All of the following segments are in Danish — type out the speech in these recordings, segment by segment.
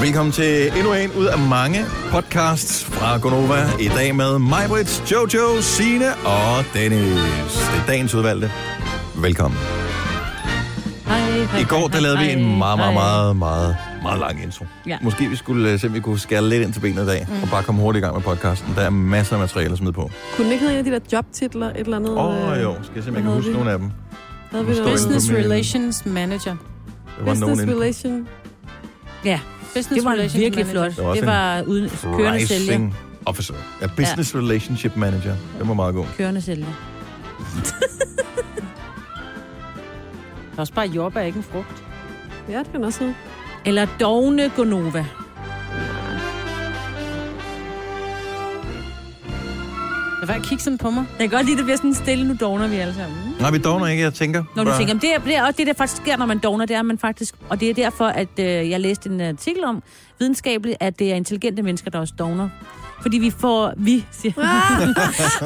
Velkommen til endnu en ud af mange podcasts fra Gonova. I dag med mig, Brits, Jojo, Sine og Dennis. Det er dagens udvalgte. Velkommen. I går der lavede vi en meget, meget, meget, meget, meget lang intro. Ja. Måske vi skulle øh, se, om vi kunne skære lidt ind til benet i dag, og bare komme hurtigt i gang med podcasten. Der er masser af materiale at smide på. Kunne den ikke hedde en af de der jobtitler, et eller andet? øh, Åh oh, jo, skal jeg se, om jeg kan havde huske vi? nogle af dem. Havde vi Hvor står noget? den? Business, Business familien. Relations Manager. Der var nogen business inde. relation. Ja, Business Det var en Relations virkelig Manager. flot. Der var også Det en var uden kørende sælger. Pricing Officer. Ja, Business Relationship Manager. Det var meget god. Kørende sælger. Det er også bare jordbær, ikke en frugt. Ja, det kan også hedde. Eller dogne Gonova. Det var at kigge sådan på mig. Jeg kan godt lide, at det bliver sådan stille, nu dogner vi alle sammen. Nej, vi dogner ikke, jeg tænker. Når du Bare- tænker, "Jamen, det er, det er også det, der faktisk sker, når man dogner, det er, at man faktisk... Og det er derfor, at øh, jeg læste en artikel om videnskabeligt, at det er intelligente mennesker, der også dogner. Fordi vi får, vi siger, Ah!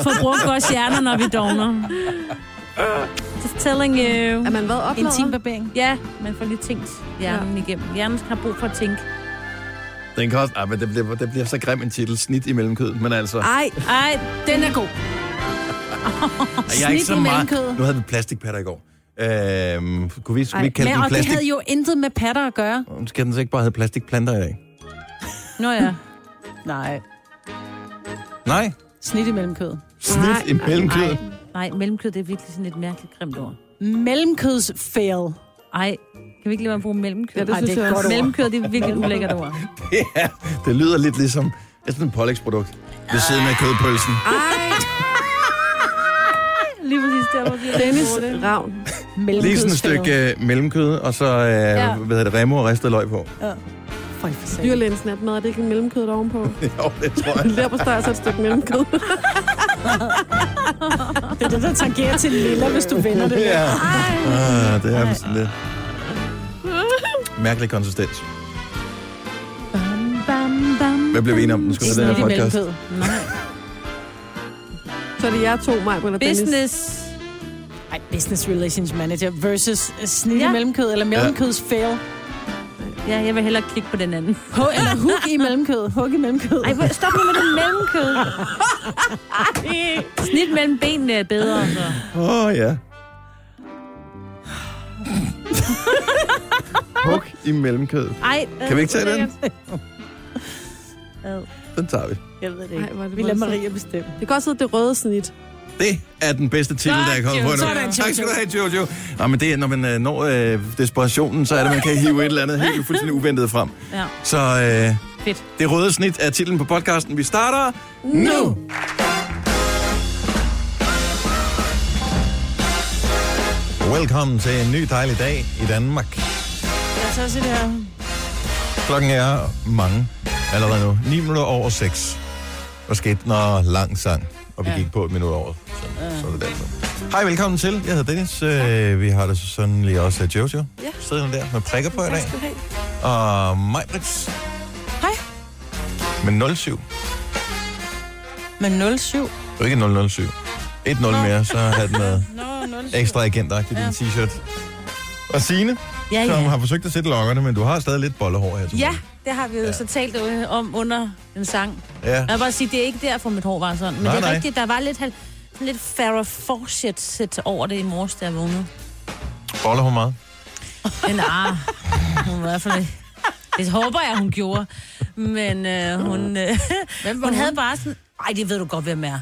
får brugt vores hjerner, når vi dogner. Just telling you. Er man hvad En oplader? timbarbering. Ja, man får lige tænkt hjernen ja. igennem. Hjernen har brug for at tænke. Den kan også... Ej, men det bliver, det bliver så grim en titel. Snit i mellemkødet. Men altså... Ah, Ej, Ej, Ej, Den er god. jeg er ikke snit så i meget... mellemkødet. Nu havde vi plastikpatter i går. Øhm, kunne vi, skulle Ej, vi ikke kalde Men, den og det plastik... havde jo intet med patter at gøre. Havde... Skal den så ikke bare hedde plastikplanter i dag? nå ja. Nej. Nej. Snit i mellemkødet. Snit Nej, i mellemkødet. Nej, mellemkød, det er virkelig sådan et mærkeligt grimt ord. Mellemkøds fail. Ej, kan vi ikke lige bare bruge mellemkød? Ja, det Ej, synes jeg også. Mellemkød, det er virkelig et ulækkert ord. ja, det lyder lidt ligesom... Det er sådan et pålægsprodukt ved siden af kødpølsen. ej, Lige præcis der, hvor vi er. Dennis Ravn. Lige sådan et Mellemkødsfail. stykke øh, mellemkød, og så, øh, ja. hvad hedder det, remo og ristet løg på. For en forsag. Dyrlægens natmad, er det ikke en mellemkød ovenpå? jo, det tror jeg. En lærbosteg og så et stykke mellemkød. Det er det, der tangerer til lilla, hvis du vender det. Ja. Ah, det er sådan lidt... Mærkelig konsistens. Bam, bam. Hvad blev vi enige om, den skulle hedde, den her podcast? Så er det jer to, mig, eller Dennis. Business. Ej, Business Relations Manager versus øh, snit i Ja. mellemkød, eller mellemkøds fail. Ja, jeg vil hellere klikke på den anden. H- eller hook i mellemkød. Hug i mellemkød. Ej, hvor- stop nu med det mellemkød. Ej. Snit mellem benene er bedre. altså. Så. Åh, oh, ja. Hug i mellemkødet. Ej, Kan vi ikke tage den? Ad. Den tager vi. Jeg ved det Ej, hvor er det Vi lader voldsomt. Maria bestemme. Det kan også hedde det røde snit. Det er den bedste titel, der er kommet på nu. Sådan, Jojo. Tak skal du have, Jojo. Nå, men det er, når man øh, når øh, desperationen, så er det, man kan hive et eller andet helt fuldstændig uventet frem. Ja, Så øh, fedt. det røde snit er titlen på podcasten. Vi starter nu! Velkommen til en ny dejlig dag i Danmark. Jeg tager også det her. Klokken er mange allerede nu. 9 minutter over 6. Og skete når lang sang, og vi ja. Ja. gik på et minut over. Så, så er det derfor. Hej, velkommen til. Jeg hedder Dennis. Øh, vi har det så sådan lige også øh, Jojo. Ja. Siddende der med prikker på i dag. Og mig, Brits. Hej. Med 07. Det Men 07. var ikke 007. 1-0 mere, så har den noget Nå, 07. ekstra agentagtigt i din t-shirt. Og Signe, Ja, som ja. har forsøgt at sætte lokkerne, men du har stadig lidt bollehår her. til Ja, det har vi jo så talt øh, om under en sang. morgen. Ja. Jeg vil bare sige, det er ikke derfor, mit hår var sådan. Men Nej, det er nej. rigtigt, der var lidt, hal- sådan lidt Farrah Fawcett over det i morges, da jeg vågnede. Bollehår meget. Men ah, hun var i hvert fald... Det håber jeg, hun gjorde. Men øh, hun, øh, hun, hun havde bare sådan... Ej, det ved du godt, hvem er.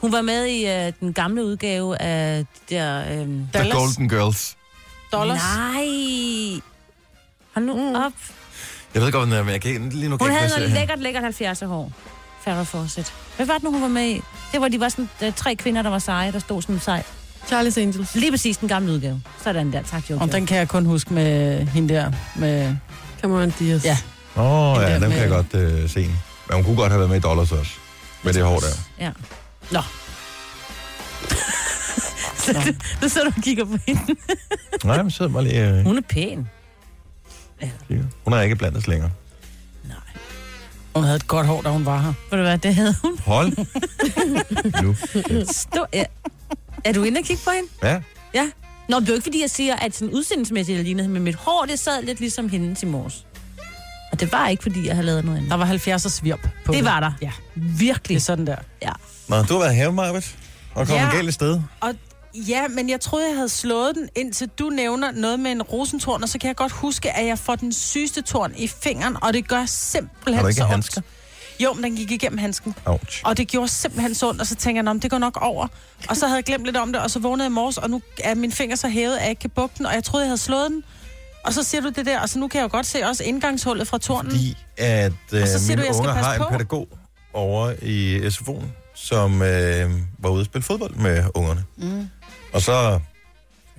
Hun var med i øh, den gamle udgave af det der... Øh, The Golden Girls. Dollars. nej! Hold nu op. Jeg ved godt, hvad den er, men jeg kan ikke- lige nu kan Hun jeg havde ikke noget placere lækkert, lækkert 70'er hår. Farrah Fawcett. Hvad var det nu, hun var med i? Det var, de var sådan, øh, tre kvinder, der var seje, der stod sådan sej. Charlie's Angels. Lige præcis den gamle udgave. Sådan der, tak Jojo. Og den kan jeg kun huske med hende der. Med... Cameron Diaz. Ja. Åh, oh, ja, Den der dem kan jeg med- godt øh, se. Men hun kunne godt have været med i Dollars også. Med det hår der. Ja. Nå. Så du, nu sidder du og kigger på hende. Nej, men sidder bare lige... Øh, Hun er pæn. kigger. hun er ikke blandt os længere. Hun havde et godt hår, da hun var her. Ved du hvad, det havde hun. Hold. nu. Stå, ja. Er du inde og kigge på hende? Ja. Ja. Nå, men det er jo ikke, fordi jeg siger, at sådan udsendelsesmæssigt jeg lignede hende, men mit hår, det sad lidt ligesom hendes i morges. Og Og det var ikke, fordi jeg havde lavet noget andet. Der var 70'er svirp på. Det var der. Ja, det er Virkelig. sådan der. Nå, du har været have, Marvitt, og kommet Ja. galt af sted. Ja, men jeg troede, jeg havde slået den, indtil du nævner noget med en rosentorn, og så kan jeg godt huske, at jeg får den sygeste torn i fingeren, og det gør simpelthen Har du ikke så ondt. handsker? Jo, men den gik igennem handsken. Ouch. Og det gjorde simpelthen så ondt, og så tænker jeg, "Nå, men det går nok over. Og så havde jeg glemt lidt om det, og så vågnede jeg i morges, og nu er min finger så hævet, at jeg ikke kan bukke den, og jeg troede, jeg havde slået den. Og så siger du det der, og så nu kan jeg jo godt se også indgangshullet fra tornen. Fordi at øh, Og så siger mine du, jeg skal unger passe har en på. pædagog over i SFO'en, som øh, var ude at spille fodbold med ungerne. Mm. Og så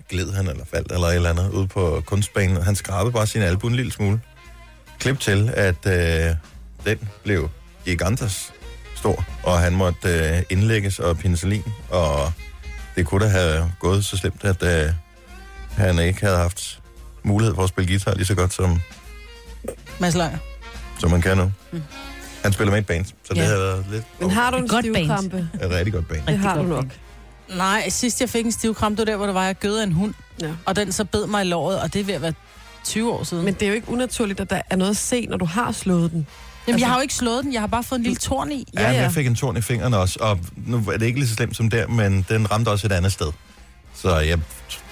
gled han eller faldt eller et eller andet ude på kunstbanen, og han skrabede bare sin albu en lille smule. Klip til, at øh, den blev gigantes stor, og han måtte øh, indlægges og penicillin, og det kunne da have gået så slemt, at øh, han ikke havde haft mulighed for at spille guitar lige så godt, som, Mads Langer. som man kan nu. Han spiller med i et band, så det Ja. havde været lidt Mm. Men har du en Godt band. stivkrampe? et rigtig godt band. Det har du godt nok. Nej, sidst jeg fik en stiv kram, det var der, hvor det var, jeg gødede af en hund. Ja. Og den så bed mig i låret, og det er ved at være 20 år siden. Men Men, det er jo ikke unaturligt, at der er noget at se, når du har slået den. Jamen, altså- jeg har jo ikke slået den, jeg har bare fået en lille torn i. Ja, ja, jeg fik en torn i fingeren også, og nu er det ikke lige så slemt som der, men den ramte også et andet sted. Så jeg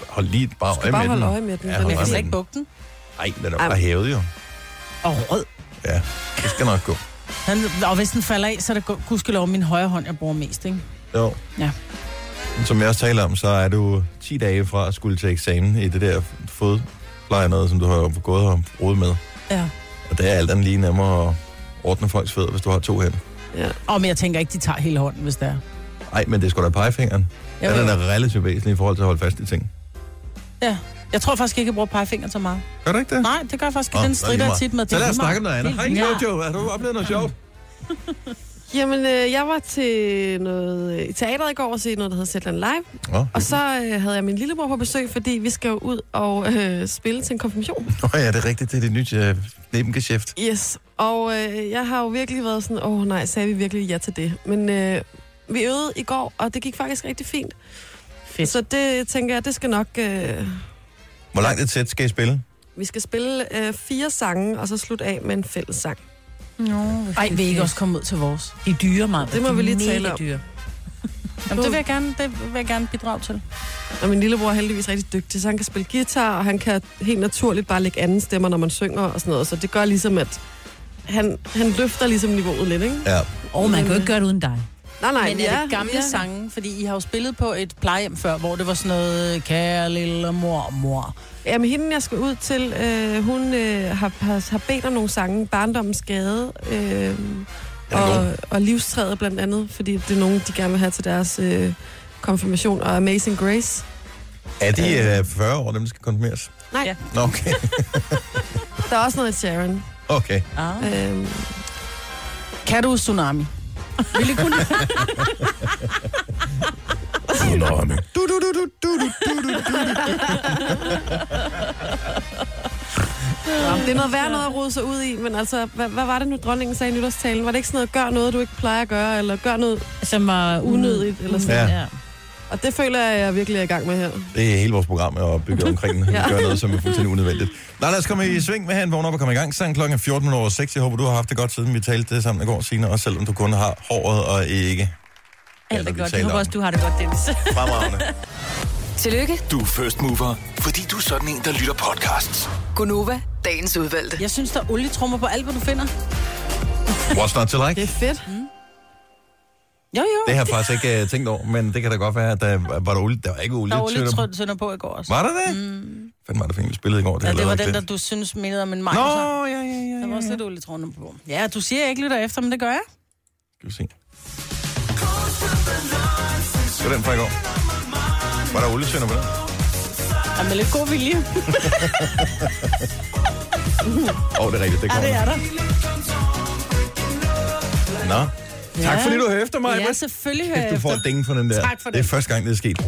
holdt lige bare Du øje skal bare med den. holde øje med den. Ja, den Men hold jeg kan øje slet med ikke bukke den. Nej, den er Ej, bare hævet jo. Og rød. Ja, det skal nok gå. Han, og hvis den falder af, så er det gu- gudskelov min højre hånd, jeg bruger mest, ikke? Jo. Ja. Men Som jeg også taler om, så er du 10 dage fra at skulle til eksamen i det der fodpleje noget, som du har gået og rodet med. Ja. Og det er alt andet lige nemmere at ordne folks fødder, hvis du har to hænder. Og men jeg tænker ikke, de tager hele hånden, hvis det er. Nej, men det er sgu da pegefingeren. Jeg, Ja, den ved, er relativt væsentlig i forhold til at holde fast i ting. jeg tror faktisk ikke, jeg bruger pegefingeren så meget. Gør du ikke det? Nej, det gør jeg faktisk Nå, ikke. Den så er det lige strider jeg meget. tit med. Så lad os lige snakke om noget andet. Hej, meget. Ja. Jojo. Har du oplevet noget sjovt? Jamen, øh, jeg var til noget øh, i teateret i går og se noget, der hedder Zetland Live. Nå, Og så øh, havde jeg min lillebror på besøg, fordi vi skal jo ud og øh, spille til en konfirmation. Nå ja, det er rigtigt. Det er det nye øh, nebengeschæft. Yes, og øh, jeg har jo virkelig været sådan, åh oh, nej, sagde vi virkelig ja til det. Men øh, vi øvede i går, og det gik faktisk rigtig fint. Fedt. Så det tænker jeg, det skal nok... Øh, Hvor langt et sæt skal I spille? vi skal spille øh, fire sange, og så slutte af med en fælles sang. Ej, vil I ikke også komme ud til vores? De er dyre, meget. Det må vi lige tale om. Dyre. Jamen, det vil jeg gerne, det vil jeg gerne bidrage til. Og min lillebror er heldigvis rigtig dygtig, så han kan spille guitar, og han kan helt naturligt bare lægge anden stemmer, når man synger og sådan noget. Så det gør ligesom, at han, han løfter ligesom niveauet lidt, ikke? Ja. Og man kan jo ikke gøre det uden dig. Nej, nej, Men vi er det gamle vi er- sange? Fordi I har jo spillet på et plejehjem før, hvor det var sådan noget, kære lille mor, mor. Jamen, hende, jeg skal ud til, øh, hun øh, har, har, har bedt om nogle sange. Barndommens Gade øh, og, og Livstræet blandt andet, fordi det er nogen, de gerne vil have til deres øh, konfirmation. Og Amazing Grace. Er de øh, 40 år, dem der skal konfirmeres? Nej. Ja. Nå, okay. Der er også noget i Sharon. okay. Ah. Øh, Kan du tsunami? Vil I kunne? Tsunami. Du, du, du, du, du, du, du, du, du. det er noget værd noget at rode sig ud i, men altså, hvad, hvad var det nu, dronningen sagde i nytårstalen? Var det ikke sådan noget, gør noget, du ikke plejer at gøre, eller gør noget Som var unødigt? Eller sådan. Mm. Ja. Ja. Og det føler jeg, jeg virkelig er i gang med her. Det er hele vores program er opbygget omkring at gøre noget, som er fuldstændig unødvendigt. Nå, lad os komme i sving med han vågner op og komme i gang. Sangen klokken er 14 over 6. Jeg håber, du har haft det godt, siden vi talte det sammen i går, Signe. Også selvom du kun har håret og ikke Alt hvad er vi godt. taler Jeg håber om. også, du har det godt, Dennis. fremragende. Tillykke, Du er first mover, fordi du er sådan en, der lytter podcasts. Gunova, dagens udvalgte. Jeg synes, der er olietrummer på alt, hvad du finder. What's not to like? Det er fedt. Jo, jo. Det har jeg faktisk ikke uh, tænkt over, men det kan da godt være, at der var, der olie, der var ikke olie. Der var olietrønder på i går også. Var der det? Mm. Fanden var det fint, vi spillede i går. Det Ja, har jeg det var allerede den, der glemt. du synes mindede om en maj. Nå, ja, ja, ja. Der ja. var også lidt olietrønder på. Ja, du siger, jeg ikke lytter efter, men det gør jeg. Skal vi se. Det var den fra i går. Var der oliesønder på den? Ja, med lidt god vilje. Åh, oh, det er rigtigt, det kommer. Det er der. Nå. Tak fordi du hører efter mig. Ja, selvfølgelig hører jeg Du får efter. et ding for den der. Tak for det. det. er første gang, det er sket.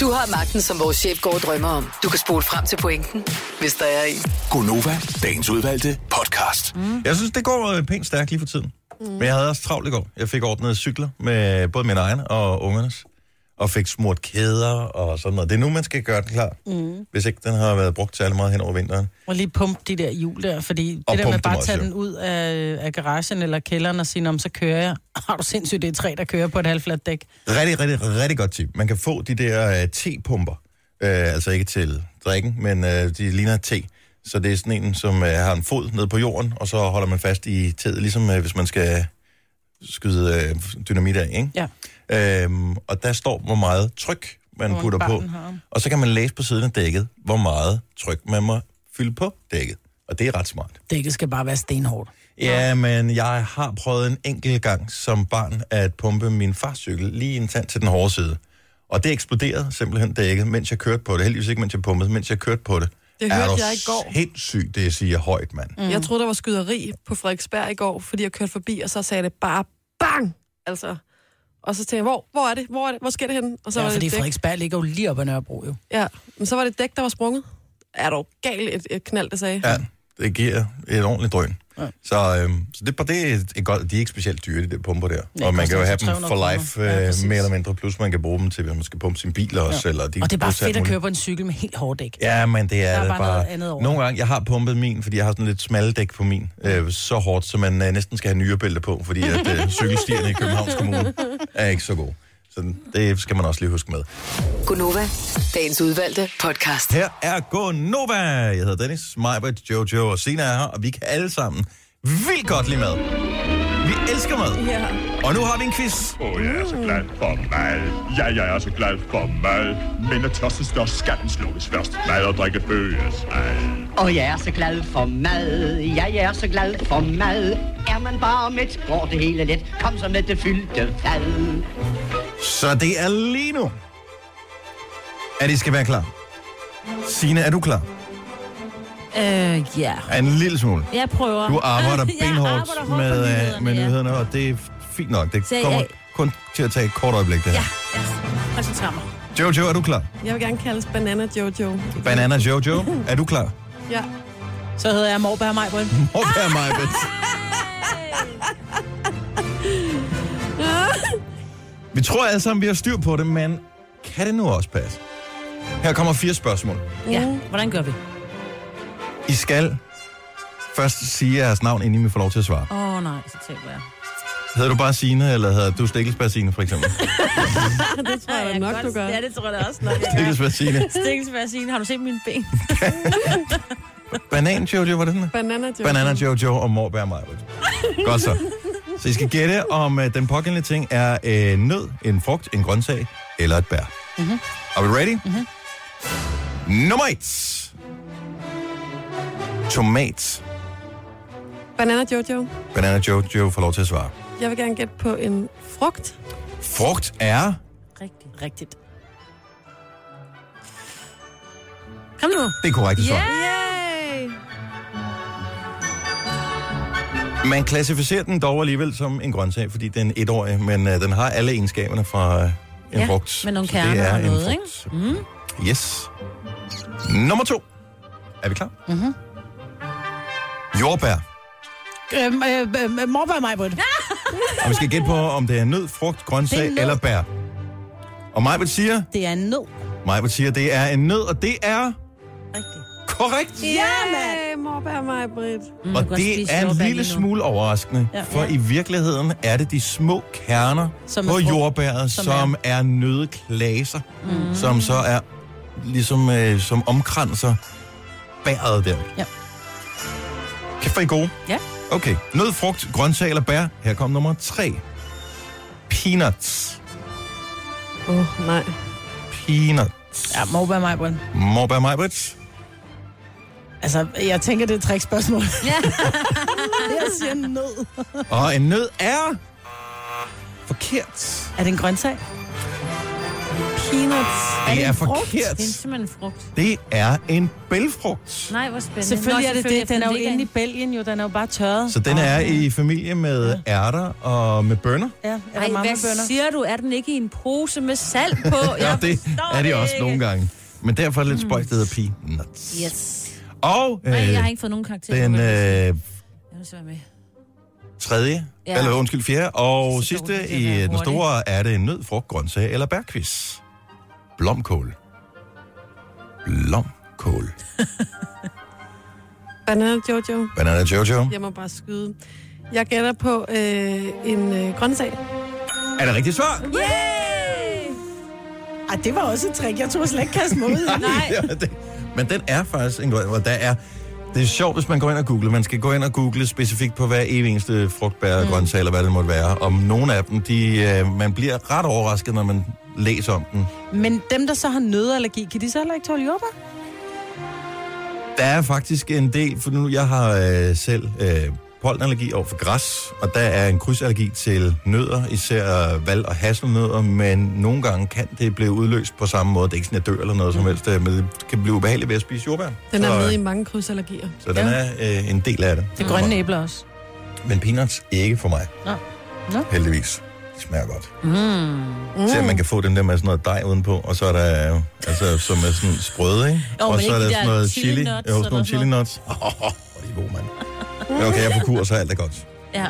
Du har magten, som vores chef går og drømmer om. Du kan spole frem til pointen, hvis der er en. Gonova, dagens udvalgte podcast. Mm. Jeg synes, det går øh, pænt stærkt lige for tiden. Mm. Men jeg havde også travlt i går. Jeg fik ordnet cykler med både min egen og ungernes. og fik smurt kæder og sådan noget. Det er nu, man skal gøre den klar, mm. hvis ikke den har været brugt særlig meget hen over vinteren. Og lige pumpe de der hjul der, fordi det Og der pumpe med dem bare at også, tage jo. den ud af, af garagen eller kælderen og sige, om så kører jeg. Har du sindssygt, det er tre, der kører på et halvfladt dæk. Rigtig, rigtig, rigtig godt tip. Man kan få de der øh, tepumper, øh, altså ikke til drikken, men øh, de ligner te. Så det er sådan en, som øh, har en fod ned på jorden, og så holder man fast i teet, ligesom øh, hvis man skal skyde øh, dynamit af, ikke? Ja. Øhm, og der står, hvor meget tryk man Hvor putter på. barten har. Og så kan man læse på siden af dækket, hvor meget tryk man må fylde på dækket. Og det er ret smart. Dækket skal bare være stenhårdt. Ja, men jeg har prøvet en enkelt gang som barn at pumpe min fars cykel lige en tand til den hårde side. Og det eksploderede simpelthen dækket, mens jeg kørte på det. Heldigvis ikke, mens jeg pumpede, mens jeg kørte på det. Det er hørte du jeg i går. sindssygt, det siger højt, mand. Mm. Mm. Jeg troede, der var skyderi på Frederiksberg i går, fordi jeg kørte forbi, og så sagde det bare bang! Altså, og så tænkte jeg, hvor, hvor er det? Hvor er det? Hvor sker det henne? Og så Ja, var det fordi et dæk. Frederiksberg ligger jo lige op ad Nørrebro, jo. Ja, men så var det et dæk, der var sprunget. Er du gal et, et knald, der sagde? Ja, det giver et ordentligt drøn. Ja. Så, øhm, så det, det er et godt, de er ikke specielt dyre, de der pumper der. Nej, og man koster kan jo have altså dem 300 for kroner. life, Ja, øh, præcis. mere eller mindre. Plus man kan bruge dem til, hvis man skal pumpe sin bil også. Ja. Eller de Og det er bare plus alt fedt at muligt. køre på en cykel med helt hårdt dæk. Ja, men det er, Der er det bare noget andet over. Nogle gange, jeg har pumpet min, fordi jeg har sådan lidt smalle dæk på min, øh, så hårdt, så man øh, næsten skal have nyrebælter på, fordi at, øh, cykelstierne i Københavns Kommune er ikke så gode. Så det skal man også lige huske med. Gunova, dagens udvalgte podcast. Her er Gonova. Jeg hedder Dennis, Majbert, Jojo og Sina er her, og vi kan alle sammen vildt godt lide mad. Vi elsker mad. Ja. Og nu har vi en quiz. Åh, oh, jeg er så glad for mad. Ja, jeg er så glad for mad. Men når tørsten størst, skal den slukkes først. Mad og drikke bøges alt. Og jeg er så glad for mad, ja, jeg er så glad for mad. Er man bare mæt, går det hele let. Kom så med det fyldte fad. Så det er lige nu, at I skal være klar. Sina, er du klar? Øh, ja. Er en lille smule. Jeg prøver. Du arbejder Jeg benhårdt arbejder hårdt på med, øh, nyhederne, med ja. nyhederne, og det er fint nok. Det Så jeg- kommer kun til at tage et kort øjeblik, det her. Ja, ja. Koncentrer mig. Jojo, er du klar? Jeg vil gerne kaldes Banana Jojo. Banana Jojo, er du klar? Ja. Så hedder jeg Morbær Majbrøn. Ah! Okay, Majbet. Vi tror alle sammen, vi har styr på det, men kan det nu også passe? Her kommer fire spørgsmål. Mm, Ja, hvordan gør vi? I skal først sige jeres navn, inden I får lov til at svare. Åh oh, nej, så taber jeg. Hedder du bare Signe, eller hedder du Stikkelsberg Signe, for eksempel? Det tror jeg, nok, du gør. Ah, Ja, det tror jeg da også nok, jeg gør. Stikkelsberg Signe. Stikkelsvarsine, har du set mine ben? Banan Jojo, var det sådan? Banana Jojo. Banana Jojo og Morbær Majbrit. Godt så. Så I skal gætte, om uh, den pågældende ting er uh, nød, en frugt, en grøntsag eller et bær. Mm-hmm. Are we ready? Mm-hmm. Nummer et. Tomat. Banana Jojo. Banana Jojo får lov til at svare. Jeg vil gerne gætte på en frugt. Frugt er... Rigtigt. Rigtigt. Kom nu. Det er korrekt svar. Yay! Man klassificerer den dog alligevel som en grøntsag, fordi den er etårig, men uh, den har alle egenskaberne fra uh, en Ja, frugt. med nogle Så det kerner er og en noget, Mm. frugt. Yes. Nummer to. Er vi klar? Mm-hmm. Mhm. Jordbær. Øhm, øh, øh, Morbær Majbrøn. Og vi skal gætte på, om det er nød, frugt, Det er grøntsag nød. eller bær. Og Majbert siger, Det er en nød. Majbert siger, det er en nød, og det er Rigtigt. korrekt. Ja, mand! Hey, morbær mig, Britt. Mm, Og du kan det spise er en jordbær lille lige nu. smule overraskende, ja. for i virkeligheden er det de små kerner som Som på er frugt. jordbæret, som, Som som er, er nødklaser, mm. som så er ligesom øh, som omkranser bæret der. Ja. Kan få I gode? Ja. Okay. Nød, frugt, grøntsag eller bær. Her kommer nummer tre. Peanuts. Åh, oh, nej. Peanuts. Ja, Morbær Majbrøn. Morbær Majbrits. Altså, jeg tænker, det er et trickspørgsmål. Ja. jeg siger nød. Og en nød er... Forkert. Er det en grøntsag? Peanuts. Det er frugt? forkert. Det er simpelthen en frugt. Det er en bælfrugt. Nej, hvor spændende. Selvfølgelig Nå, er det det. selvfølgelig, Den er jo ligger inde i Belgien, jo. Den er jo bare tørret. Så den er i familie med ærter og med bønner. Ja, er der Ej, mange hvad bønder? siger du? Er den ikke i en pose med salt på? Ja, Jeg det forstår er det også ikke. nogle gange. Men derfor er det lidt spøjst, det hedder peanuts. Yes. Og Nej, øh, jeg har ikke fået nogen karakter. den jeg øh, vil svære med. tredje, ja. Ja. eller undskyld, fjerde, og Sidste sidste, runde, det i er den hurtigt. store er det nød, frugt, grøntsag eller bærquiz. Blomkål. Blomkål. Banana Jojo. Banana Jojo. Jeg må bare skyde. Jeg gætter på øh, en øh, grøntsag. Er det rigtigt svar? Ej, det var også et trick. Jeg tror slet ikke kaste mig ud. i. Ja, det, men den er faktisk en grøn, hvor der er... Det er sjovt, hvis man går ind og googler. Man skal gå ind og google specifikt på hver evig eneste frugt, bær, mm. grøntsag eller hvad det måtte være. Om nogle af dem, de, øh, man bliver ret overrasket, når man læser om den. Men dem, der så har nødallergi, kan de så heller ikke tåle jordbær? Der er faktisk en del, for nu jeg har øh, selv øh, pollenallergi over for græs, og der er en krydsallergi til nødder, især valg og hasselnødder, men nogle gange kan det blive udløst på samme måde. Det er ikke sådan, at jeg dør eller noget som helst, øh, men det kan blive ubehageligt ved at spise jordbær. Mm. Den er så, med i øh, mange krydsallergier. så den er øh, en del af det. Det er grønne æbler også. Men peanuts ikke for mig. Nå. Nå. Heldigvis. De smager godt. Mm. Så man kan få dem der med sådan noget dej udenpå, og så er der, øh, altså, som er sådan sprøde, ikke? Jo, og men så ikke er der de sådan der noget chili chili. nuts jo, sådan eller nogle sådan chili nuts. Åh, oh, oh, de er gode, mand. Men okay, jeg er på kur, så er alt er godt. Ja.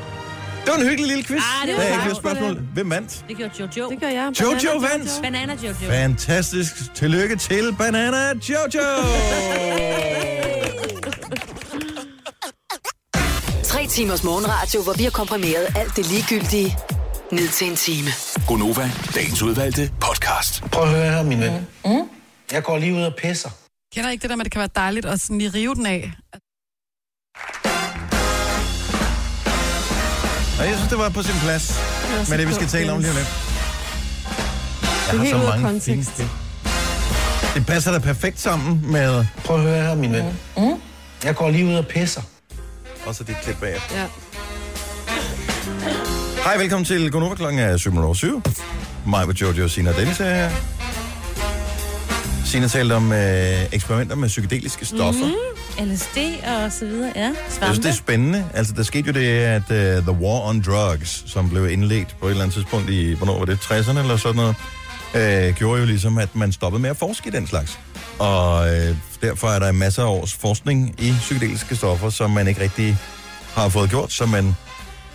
Det var en hyggelig lille quiz. Ah, det var der er ikke sjovt. flere spørgsmål. Hvem vandt? Det gjorde Jojo. Det gør jeg. Jojo Banana vandt! Banana Jojo. Fantastisk. Tillykke til Banana Jojo. Tre timers morgenradio, hvor vi har komprimeret alt det ligegyldige ned til en time. Gonova, dagens udvalgte podcast. Prøv at høre her, min ven. Mm. Jeg går lige ud og pisser. Kender I ikke det der med, at det kan være dejligt at sådan lige rive den af? Og jeg synes, det var på sin plads var med så det, vi skal klogt, tale om lige om lidt. Jeg har helt så ude af mange fine kontekst. ting. Det passer da perfekt sammen med Prøv at høre her, min ven. Mm. Jeg går lige ud og pisser. også dit klip bag. Ja. Hej, velkommen til Gonova klokken er 7.07. Mig med Jojo, Sina og Dennis er her. Sina talte om øh, eksperimenter med psykedeliske stoffer. Mhm. Mm-hmm. LSD og så videre. Ja. Jeg synes, Svampe. det er spændende. Altså, der skete jo det, at uh, The War on Drugs, som blev indledt på et eller andet tidspunkt i, hvornår var det, 60'erne eller sådan noget, øh, gjorde jo ligesom, at man stoppede med at forske i den slags. Og øh, derfor er der masser af års forskning i psykedeliske stoffer, som man ikke rigtig har fået gjort, så man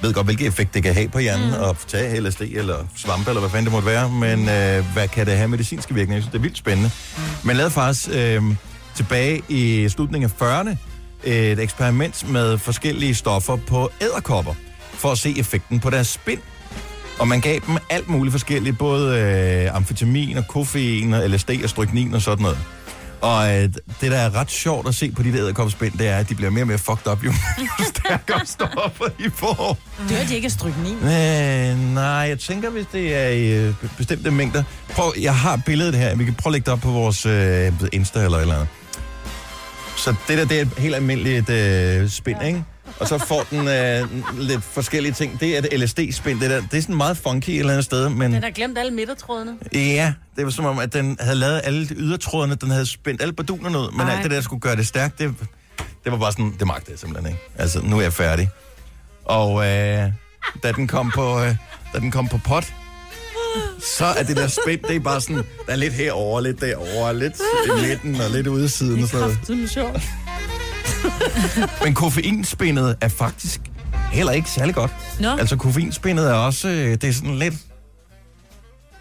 ved godt, hvilke effekt det kan have på hjernen, mm. at tage LSD eller svampe, eller hvad fanden det måtte være, men øh, hvad kan det have medicinske virkninger? Jeg synes, det er vildt spændende. Man lavede faktisk øh, tilbage i slutningen af 40'erne et eksperiment med forskellige stoffer på æderkopper, for at se effekten på deres spind. Og man gav dem alt muligt forskelligt, både øh, amfetamin og koffein og LSD og stryknin og sådan noget. Og øh, det, der er ret sjovt at se på de der æderkoppespind, det er, at de bliver mere og mere fucked up, jo stærkere stoffer de får. Dør de ikke af stryknin? Øh, nej, jeg tænker, hvis det er i øh, bestemte mængder. Prøv, jeg har billedet her. Vi kan prøve at lægge det op på vores øh, Insta eller et eller andet. Så det der, det er et helt almindeligt øh, spind, ikke? Og så får den øh, lidt forskellige ting. Det er et LSD-spind. Det, der. det er sådan meget funky et eller andet sted, men... Den har glemt alle midtertrådene. Ja, det var som om, at den havde lavet alle de ydertrådene, den havde spændt alle badunerne ud, men Ej. Ej. alt det der, der skulle gøre det stærkt, det, det var bare sådan, det magtede jeg simpelthen ikke. Altså, nu er jeg færdig. Og øh, da, den kom på, øh, da den kom på pot, så er det der spænd, det er bare sådan, der er lidt herover, lidt derovre, lidt i midten og lidt ude i siden. og sådan noget. Det er sjovt. Men koffeinspindet er faktisk heller ikke særlig godt. Nå. Altså, koffeinspindet er også, øh, det er sådan lidt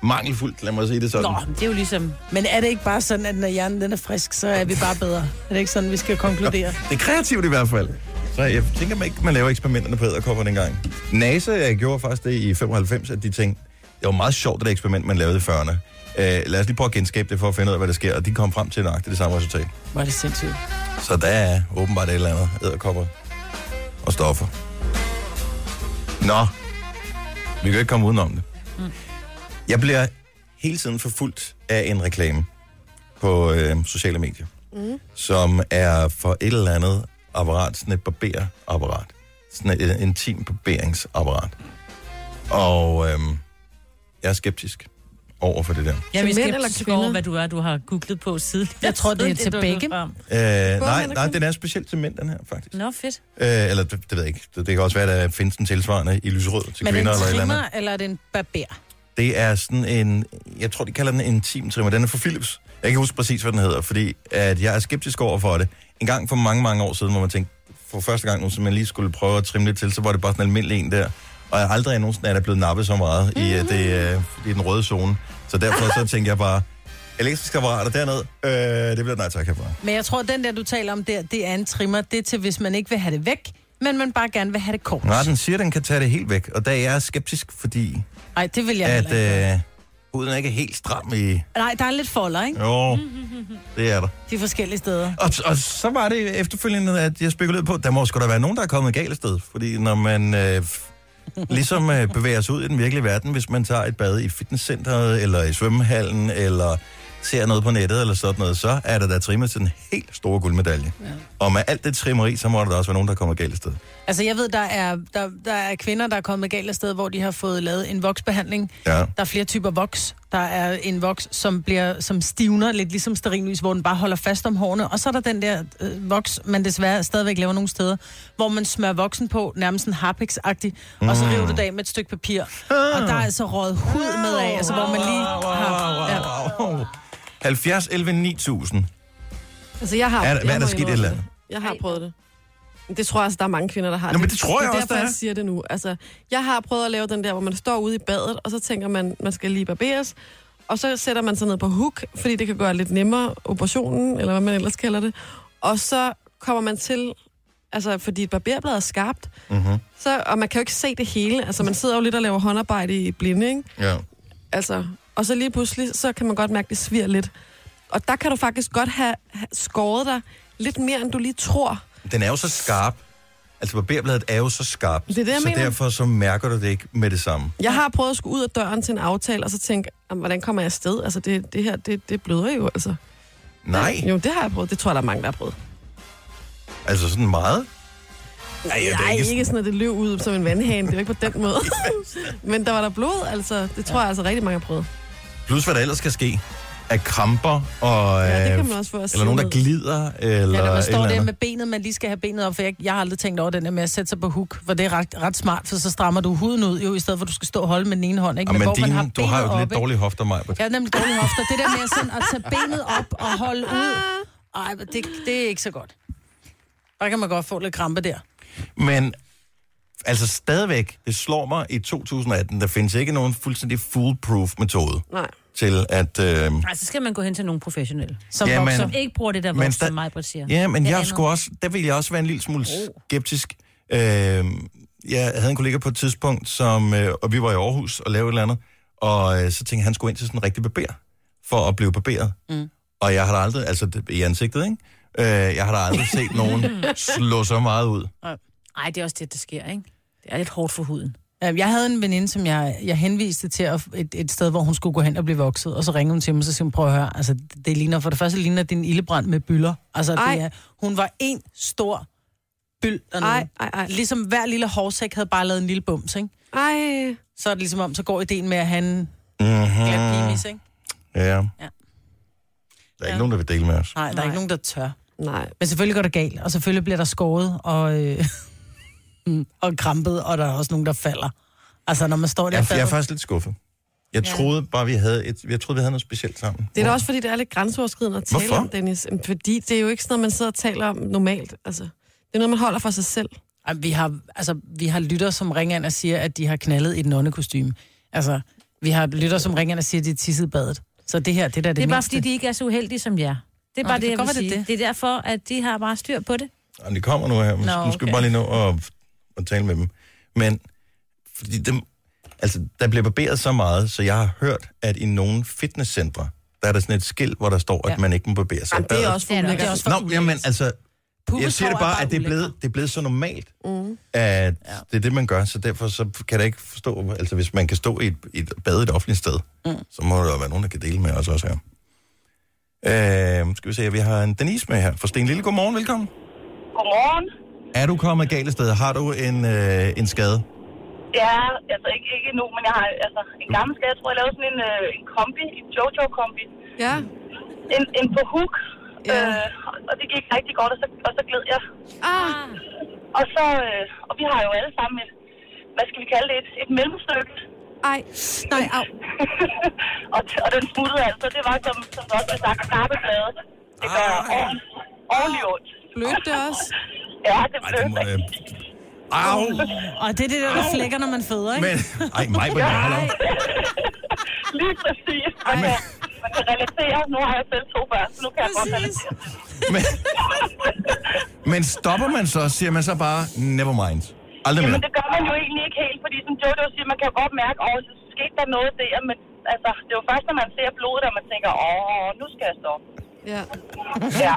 mangelfuldt, lad mig sige det sådan. Nå, det er jo ligesom... Men er det ikke bare sådan, at når hjernen den er frisk, så er vi bare bedre? Er det ikke sådan, vi skal konkludere? Det er kreativt i hvert fald. Så jeg tænker man ikke, man laver eksperimenterne på æderkopper dengang. NASA øh, gjorde faktisk det i 95, at de tænkte, det var meget sjovt, det der eksperiment, man lavede i 40'erne. Øh, lad os lige prøve at genskabe det for at finde ud af, hvad der sker. Og de kom frem til nøjagtigt det samme resultat. Var det sindssygt. Så der er åbenbart et eller andet æderkopper og stoffer. Nå, vi kan jo ikke komme udenom det. Jeg bliver hele tiden forfulgt af en reklame på øh, sociale medier, mm. som er for et eller andet apparat, sådan et barberapparat. Sådan et, et intim barberingsapparat. Og øh, jeg er skeptisk over for det der. Øh, Jeg mænd eller kvinder? over, hvad du er, du har googlet på siden. Jeg tror, det er til du begge. kom. Øh, nej, mænd og nej, kvinder? den er specielt til mænd, den her, faktisk. Nå, fedt. Øh, eller det, det ved jeg ikke. Det, det kan også være, at der findes en tilsvarende i lyserød til Men er det en kvinder eller et eller andet. trimmer, eller er det en barber? Det er sådan en, jeg tror, de kalder den en intimtrimmer. Den er fra Philips. Jeg kan ikke huske præcis, hvad den hedder, fordi at jeg er skeptisk over for det. En gang for mange, mange år siden, hvor man tænkte, for første gang nu, som jeg lige skulle prøve at trimme lidt til, så var det bare sådan en almindelig en der. Og jeg aldrig nogensinde er der blevet nappet så meget i, øh, det, øh, i den røde zone. Så derfor så tænkte jeg bare, elektriske apparater dernede, øh, det bliver et nej tak herfra. Men jeg tror, den der, du taler om der, det er en trimmer. Det er til, hvis man ikke vil have det væk, men man bare gerne vil have det kort. Nej, den siger, den kan tage det helt væk. Og der er jeg skeptisk, fordi Nej, det vil jeg at, at heller ikke. øh, huden er ikke helt stram i... Nej, der er lidt folder, ikke? Jo, det er der. De forskellige steder. Og, og så var det efterfølgende, at jeg spekulerede på, der må sgu da være nogen, der er kommet galt af sted. Fordi når man øh, f- ligesom øh, bevæger sig ud i den virkelige verden, hvis man tager et bad i fitnesscenteret, eller i svømmehallen, eller ser noget på nettet, eller sådan noget, så er der da trimmet til den helt store guldmedalje. Ja. Og med alt det trimmeri, så må der da også være nogen, der kommer galt af sted. Altså, jeg ved, der er, der, der er kvinder, der er kommet galt af sted, hvor de har fået lavet en voksbehandling. Ja. Der er flere typer voks. Der er en voks, som, bliver, som stivner lidt ligesom sterinlys, hvor den bare holder fast om hårene. Og så er der den der øh, voks, man desværre stadigvæk laver nogle steder, hvor man smører voksen på, nærmest en harpix agtig og så Mm. river du det af med et stykke papir. Og der er altså røget hud med af, altså hvor man lige har... Ja. Wow. 70, 11, 9000. Altså, jeg har... Er der- jeg hvad er der må sket indrømme et eller andet? det. Jeg har prøvet det. Men Det tror jeg også, der er mange kvinder, der har Nå, men det tror jeg det er også, derfor, der er. jeg siger det nu. Altså, jeg har prøvet at lave den der, hvor man står ude i badet, og så tænker man, man skal lige barberes. Og så sætter man sig ned på hook, fordi det kan gøre lidt nemmere operationen, eller hvad man ellers kalder det. Og så kommer man til, altså fordi et barberblad er skarpt, Mm-hmm. så, og man kan jo ikke se det hele. Altså man sidder jo lidt og laver håndarbejde i blinde, ikke? Ja. Altså, og så lige pludselig, så kan man godt mærke, det sviger lidt. Og der kan du faktisk godt have, have skåret dig lidt mere, end du lige tror. Den er jo så skarp. Altså barberbladet er jo så skarpt. Det er det, jeg så mener. derfor så mærker du det ikke med det samme. Jeg har prøvet at skulle ud af døren til en aftale, og så tænke, "Jamen, hvordan kommer jeg afsted? Altså, det, det her, det, det bløder jo, altså. Nej, Jo, det har jeg prøvet. Det tror jeg, der er mange, der har prøvet. altså sådan meget. Ej, det er Nej, ikke sådan- ikke, sådan, at det løb ud som en vandhane. Det er jo ikke på den måde. Men der var der blod, altså. Det tror jeg altså rigtig mange har prøvet. Plus hvad der ellers skal ske af kramper og... Ja, det kan øh, man også få at Eller sidde nogen, der ned. glider, eller Ja, når man et eller står der andet. med benet, man lige skal have benet op, for jeg, jeg har aldrig tænkt over den der med at sætte sig på hook, for det er ret, ret smart, for så strammer du huden ud, jo, i stedet for at du skal stå og holde med den ene hånd, ikke? Ja, Ah, men hvor dine, du har jo benet lidt oppe, ikke? dårlige hofter, mig. Jeg har nemlig dårlige hofter. Det der med sådan at tage benet op og holde ud, Ah. ej, men det, det er ikke så godt. Der kan man godt få lidt krampe der. Men altså stadigvæk, det slår mig i 2018, der findes ikke nogen fuldstændig foolproof metode Nej. til at... Øh, Nej, så skal man gå hen til nogle professionelle, som, Jamen- Jamen, som ikke bruger det der Men voks, sta- som mig siger. Ja, men Det jeg andet. skulle også, der ville jeg også være en lille smule skeptisk. Øh, jeg havde en kollega på et tidspunkt, som, øh, og vi var i Aarhus og lavede et eller andet, og øh, så tænkte jeg, han skulle ind til sådan en rigtig barber, for at blive barberet. Mm. Og jeg har da aldrig, altså det- i ansigtet, ikke? Øh, jeg har da aldrig set nogen slå så meget ud. Ej, det er også det, der sker, ikke? Det er lidt hårdt for huden. Øhm, Jeg havde en veninde, som jeg, jeg henviste til at- et, et sted, hvor hun skulle gå hen og blive vokset, og så ringede hun til mig, og så siger hun, prøv at høre, altså, det ligner, for det første ligner din ildebrand med byller. Altså, Ej. det er, hun var en stor byld dernede. Ej, ej, ej. Ligesom hver lille hårsæk havde bare lavet en lille bums, ikke? Ej. Så er det ligesom om, så går ideen med at have en glat Mm-hmm. penis, ikke? Ja. Der Ja. er ikke nogen, der vil dele med os. Nej, der er ikke nogen, der tør. Nej. Men selvfølgelig går det galt, og selvfølgelig bliver der skåret og, øh, mm, og krampet, og der er også nogen, der falder. Altså, når man står der... Jeg, jeg er faldet- faktisk lidt skuffet. Jeg Ja. troede bare, vi havde, et, jeg troede, vi havde noget specielt sammen. Det er da også, fordi det er lidt grænseoverskridende at tale Hvorfor? om, Dennis. Jamen, Fordi det er jo ikke sådan noget, man sidder og taler om normalt. Altså, det er noget, man holder for sig selv. Ej, Vi har, altså, vi har lytter, som ringer ind og siger, at de har knaldet et nonnekostyme. Altså, vi har lytter, som ringer ind og siger, at de er tisset i badet. Så det her, det der er det, Det er bare, mindste. fordi de ikke er så uheldige som jer. Det er Nå, bare det det, kan jeg godt vil være, det sige. er Det. det er derfor, at de har bare styr på det. Jamen, de kommer nu her. Nu, Nå, Nå, nu skal vi okay. bare lige nå at, at tale med dem. Men, fordi dem, altså, der bliver barberet så meget, så jeg har hørt, at i nogle fitnesscentre, der er der sådan et skilt, hvor der står, at Ja. man ikke må barbere sig. Øh, Jamen, det er også for Det er det ulækkert. også for Nå, ulækkert. jamen, altså, jeg Pubeshår siger det bare, at det er ulækre. blevet, det er blevet så normalt, mm. at det er det, man gør, så derfor så kan jeg ikke forstå, altså hvis man kan stå i et, i et bad i et offentligt sted, mm. så må der jo være nogen, der kan dele med os også her. Øh, skal vi se, vi har en Denise med her fra Sten Lille. Godmorgen, velkommen. Godmorgen. Er du kommet galt af sted? Har du en, øh, en skade? Ja, altså ikke, ikke endnu, men jeg har altså, en gammel skade. Jeg tror, jeg lavede sådan en, øh, en kombi, en Jojo-kombi. Ja. En, en på hook. Ja. Øh, og- og det gik rigtig godt, og så, og så gled jeg. Ah, Og, så, øh, og vi har jo alle sammen et, hvad skal vi kalde det, et, et mellemstykke. ej. Nej, au. og, t- og den smuttede altså. Det var, som, som du også blev sagt, karpeblade. Det gør Ej. ordentligt, ordentligt ondt. Blødte det også? Ja, det Ej, det må... Øh... Au! Og det er det der, der flækker, når man føder, ikke? Men, ej, mig på det Lige præcis. Man kan, man kan relatere. Nu har jeg selv to børn, så nu kan jeg godt relatere. men, men stopper man så, siger man så bare, never mind. Aldrig mere. Jamen, det gør man jo egentlig ikke helt, fordi som Jojo siger, man kan jo godt mærke, at så skete der noget der, men altså, det er jo først, når man ser blodet, at man tænker, åh, nu skal jeg stoppe. Ja. ja.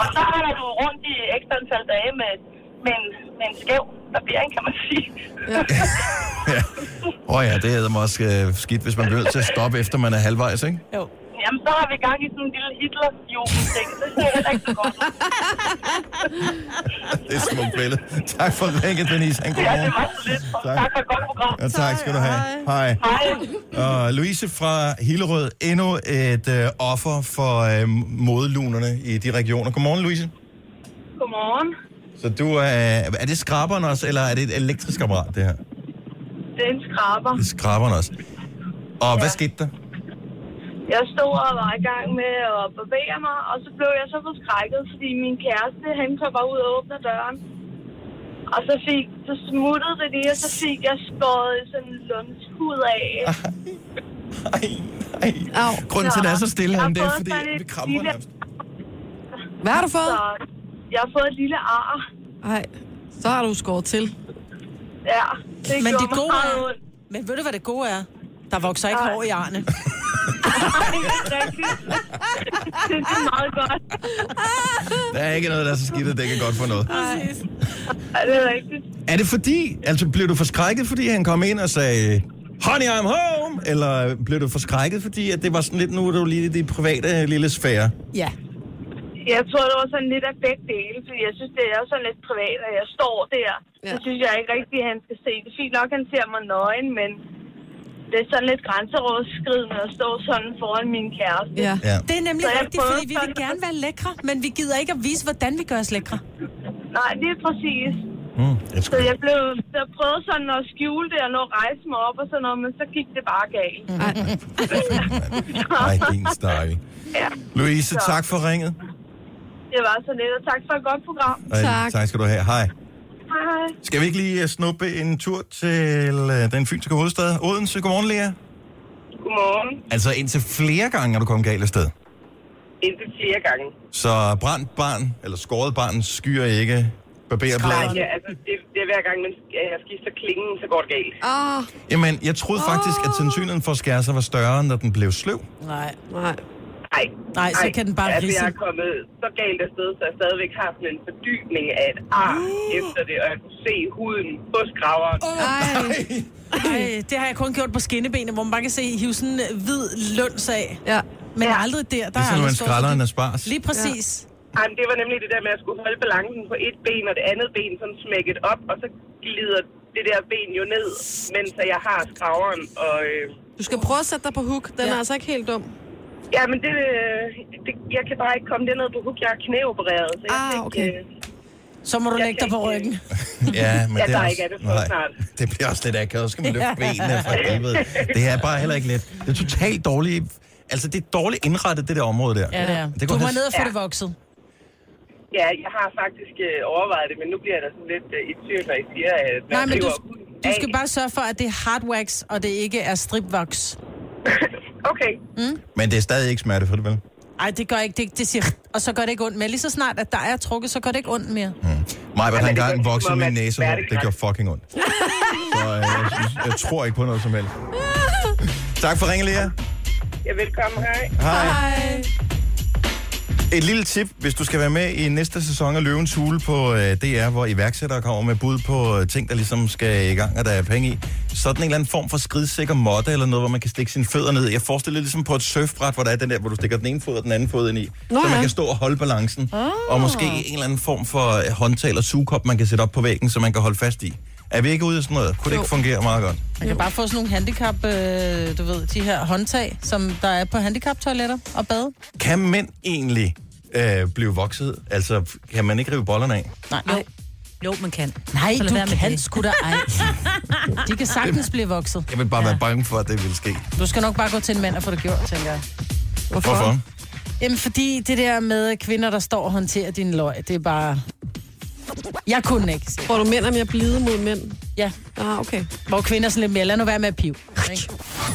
Og så har du rundt i ekstra antal dage med, med, en, med en skæv barbering, kan man sige. Ja. Åh oh ja, det hedder mig også øh, skidt, hvis man bliver nødt til at stoppe, efter man er halvvejs, ikke? jo. Jamen, så har vi gang i sådan en lille Hitler-jubilæum. Det ser heller ikke så godt. ud. Det er et smukt billede. Tak for ringet, Denise. Han Ja, det var så lidt. Tak. Tak for et godt program. Ja, tak skal du have. Hej. Hej. Og Louise fra Hillerød, endnu et øh, offer for øh, modelunerne i de regioner. Godmorgen, Louise. Godmorgen. Så du er... Er det skraberen også, eller er det et elektrisk apparat, det her? Det er en skraber. Det er skraberen også. Og ja. hvad skete der? Jeg stod og var i gang med at bevæge mig, og så blev jeg så forskrækket, fordi min kæreste, han kom bare ud og åbner døren. Og så, fik, så smuttede det lige, og så fik jeg skåret sådan en lundskud af. Ah. Au. Grunden til, at det er så stille Jeg har herinde, det er, fået fordi sådan et det kramper lille- nærmest. Hvad har du fået? Så jeg har fået et lille ar. Nej, så har du skåret til. Ja, det Men gjorde det gode meget er... Men ved du, hvad det gode er? Der vokser ikke hår i arne. Det er meget godt. Der er ikke noget, der er så skidt, at det ikke er godt for noget. Præcis. Ja, det er rigtigt. Er det fordi, altså blev du forskrækket, fordi han kom ind og sagde, Honey, I'm home? Eller blev du forskrækket, fordi at det var sådan lidt, nu er du lige i din private øh, lille sfære? Ja. Jeg tror, det var sådan lidt af begge dele, fordi jeg synes, det er jo sådan lidt privat, og jeg står der. Ja. Så synes jeg ikke rigtigt, at han skal se det. Fint nok, han ser mig nøgen, men det er sådan lidt grænseoverskridende at stå sådan foran min kæreste. Ja. ja. Det er nemlig Så jeg rigtigt, prøvede fordi vi vil sådan- gerne være lækre, men vi gider ikke at vise, hvordan vi gør os lækre. Nej, det er præcis. Mm, jeg Så jeg blev, jeg prøvede sådan at skjule det og nå at rejse mig op og sådan noget, men så gik det bare galt. Mm. Nej, din stakkel. Ja. Louise, Så. tak for ringet. Det var så lidt, og tak for et godt program. Og, øh, tak skal du have. Hej. Hej. Skal vi ikke lige øh, snuppe en tur til øh, den fynske hovedstad, Odense? Godmorgen, Lea. Godmorgen. Altså indtil flere gange er du kommet galt af sted. Indtil flere gange. Så brændt barn, eller skåret barn, skyer ikke Nej, barberbladet. ja, altså, det, det er hver gang, man øh, skifter klingen, så går det galt. Ah. Jamen, jeg troede faktisk, at sandsynligheden for at skære sig var større, når den blev sløv. Nej. Nej. Nej. Nej, så kan den bare altså, ridse. jeg er kommet så galt afsted, så jeg stadigvæk har sådan en fordybning af et ar efter det, og jeg kunne se huden på skraveren. Ej, det har jeg kun gjort på skinnebenene, hvor man bare kan se hive sådan en øh, hvid løns af. Ja. Men aldrig der. Der er Ligesom når aldrig man stået skræller sådan- en asparges. Lige præcis. Ja. Jamen, det var nemlig det der med, at jeg skulle holde balancen på et ben og det andet ben sådan smækket op, og så glider det der ben jo ned, mens at jeg har skraveren. Og, øh, Du skal prøve at sætte dig på hook. Den er altså ikke helt dum. ja, men det, øh, det, jeg kan bare ikke komme derned på hook. Jeg er knæopereret, så jeg ah, okay. øh, Så må du lægge dig på ryggen. Ja, men Jeg det er tager også, ikke af det for snart. det bliver også lidt akavet. Så skal man løfte benene for helvede. Det er bare heller ikke let. Det er totalt dårligt. Altså, det er dårligt indrettet, det der område der. Ja, det er. Det du kunne må have- ned og få det vokset. Ja, jeg har faktisk øh, overvejet det, men nu bliver der sådan lidt øh, i tvivl, når I siger, at man Nej, men du, river du skal bare sørge for, at det er hard wax, og det ikke er stripvoks. okay. Mm? Men det er stadig ikke smertefrit, vel? Ej, det gør ikke. Det, det siger, og så gør det ikke ondt. Men lige så snart, at der er trukket, så gør det ikke ondt mere. Mm. Mig var det der gør engang ikke vokset noget min med næse. Det gjorde smertegrænsen. fucking ondt. Så øh, jeg, synes- jeg tror ikke på noget som helst. Tak for ringen, Lea. Jeg velkommen, hej. Hej. Et lille tip, hvis du skal være med i næste sæson af Løvens Hule på øh, DR, hvor iværksættere kommer med bud på øh, ting, der ligesom skal i gang, og der er penge i. Sådan en eller anden form for skridsikker måtte eller noget, hvor man kan stikke sine fødder ned. Jeg forestiller det ligesom på et surfbræt, hvor der er den der, hvor du stikker den ene fod og den anden fod ind i. Nå Nå, så man ja. kan stå og holde balancen. Ah. Og måske en eller anden form for øh, håndtag eller sugekop, man kan sætte op på væggen, så man kan holde fast i. Er vi ikke ude i sådan noget? Kunne det Jo. ikke fungere meget godt? Man kan bare få sådan nogle handicap, øh, du ved, de her håndtag, som der er på handicaptoiletter og bade. Kan mænd egentlig øh, blive vokset? Altså, kan man ikke rive bollerne af? Nej. Jo. Jo, man kan. Nej, Så lad du være med kan det. sgu da ej. De kan sagtens blive vokset. Jeg vil bare ja. være bange for, at det vil ske. Du skal nok bare gå til en mand og få det gjort, tænker jeg. Hvorfor? Jamen, fordi det der med kvinder, der står og håndterer din løg, det er bare... Jeg kunne ikke. Får du mænd er mere blide mod mænd? Ja. Ah, okay. Hvor kvinder sådan lidt mere, lad nu være med at pive. ikke?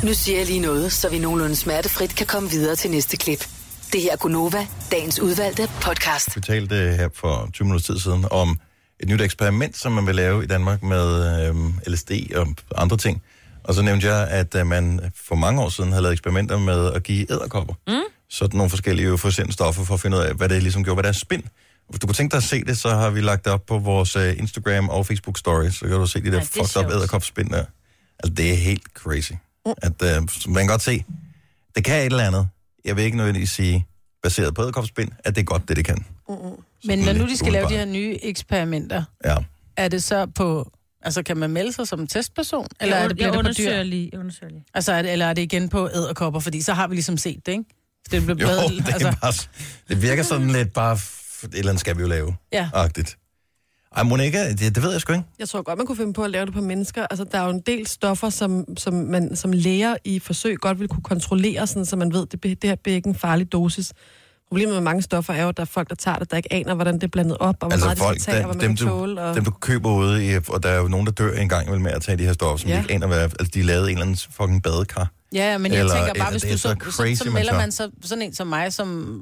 Nu siger jeg lige noget, så vi nogenlunde smertefrit kan komme videre til næste klip. Det her er Gunova, dagens udvalgte podcast. Vi talte øh, her for 20 minutter tid siden om et nyt eksperiment, som man vil lave i Danmark med øhm, LSD og andre ting. Og så nævnte jeg, at øh, man for mange år siden havde lavet eksperimenter med at give æderkopper. Mm. Sådan nogle forskellige euforiserende stoffer for at finde ud af, hvad det ligesom gjorde, hvad deres spind. Hvis du kunne tænke dig at se det, så har vi lagt det op på vores øh, Instagram og Facebook Stories. Så kan du se de der Ja, ja, det er fucked up sjovt. æderkopspind der. Altså, det er helt crazy. Mm. At, øh, som man kan godt se, det kan et eller andet. Jeg vil ikke nødvendigvis sige, baseret på æderkopspind, at det er godt, det det kan. Men når nu de skal lave de umiddelbart. her nye eksperimenter, Ja. er det så på... Altså, kan man melde sig som testperson? Eller er det, bliver jeg det på undersøger dyr? lige, jeg undersøger lige. Altså, er det, eller er det igen på æderkopper? Fordi så har vi ligesom set det, ikke? Det bliver Jo, bedre. det, er altså, bare, det virker sådan lidt bare, f- et eller andet skal vi jo lave. Ja. Agtigt. Ej, Monika, det, det ved jeg sgu ikke. Jeg tror godt, man kunne finde på at lave det på mennesker. Altså, der er jo en del stoffer, som, som man som læger i forsøg godt vil kunne kontrollere, sådan, så man ved, at det, be- det her bliver ikke en farlig dosis. Problemet med mange stoffer er jo, at der er folk, der tager det, der ikke aner, hvordan det er blandet op, og hvor Altså meget folk, folk, de skal tage, der, og hvad dem, man du, kan tåle. Og... dem du køber ude, i, og der er jo nogen, der dør en gang imellem med at tage de her stoffer, som ja. Ja. de ikke aner, hvad er. Altså, de er lavet i en eller anden fucking badekar. Ja, ja, men jeg Eller- tænker bare, eller hvis det du er så, så så, crazy, så, så man melder tager. man så, sådan en som mig, som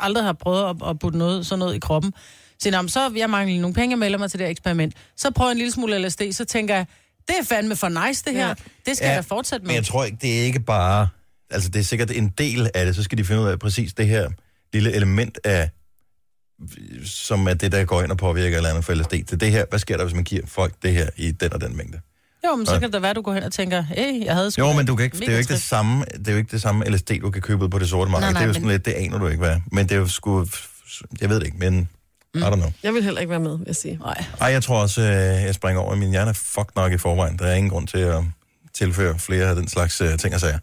aldrig har prøvet at, at putte noget, sådan noget i kroppen. Så siger, "Nå, men så jeg mangler lige nogle penge, jeg melder mig til det her eksperiment. Så prøver jeg en lille smule LSD, så tænker jeg, det er fandme for nice det her. Ja. Det skal ja, jeg da fortsætte med. Men jeg tror ikke, det er ikke bare... Altså, det er sikkert en del af det, så skal de finde ud af præcis det her lille element af som er det, der går ind og påvirker et eller andet for LSD. Til det her, hvad sker der, hvis man giver folk det her i den og den mængde? Jo, men så Nej. kan det da være, at du går hen og tænker, hey, jeg havde sgu Jo, da men du kan ikke, det er jo mega ikke det trip." samme, det er jo ikke det samme LSD, du kan købe ud på det sorte marked. Nej, Det nej, er jo sådan men- lidt, det aner du ikke, hvad. er. Men det er jo sgu, jeg ved det ikke, men Mm. I don't know. Jeg vil heller ikke være med, vil jeg sige. Nej. Ej, jeg tror også, øh, jeg springer over. Min hjerne er fucked nok i forvejen. Der er ingen grund til at tilføre flere af den slags øh, ting og sager.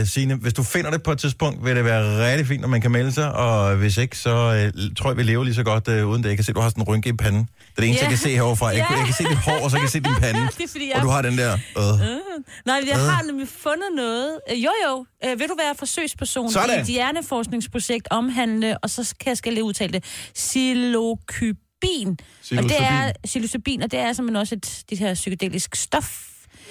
Øh, Signe, hvis du finder det på et tidspunkt, vil det være rigtig fint, når man kan melde sig, og hvis ikke, så øh, tror jeg, vi lever lige så godt øh, uden det. Jeg kan se, du har sådan en rynke i panden. Det er det eneste, Ja. jeg kan se heroverfra. Jeg, Ja. jeg kan se dit hår, og så kan jeg se din pande. Det er fordi, jeg... Og du har den der... Øh. Øh. Nej, jeg har nemlig fundet noget. Øh, Jo, jo. Øh, vil du være forsøgsperson Sådan. i et hjerneforskningsprojekt omhandlende, og så skal jeg skal jeg lige udtale det, psilocybin. Og det Psilocybin. er psilocybin, og det er simpelthen også et, det her psykedelisk stof.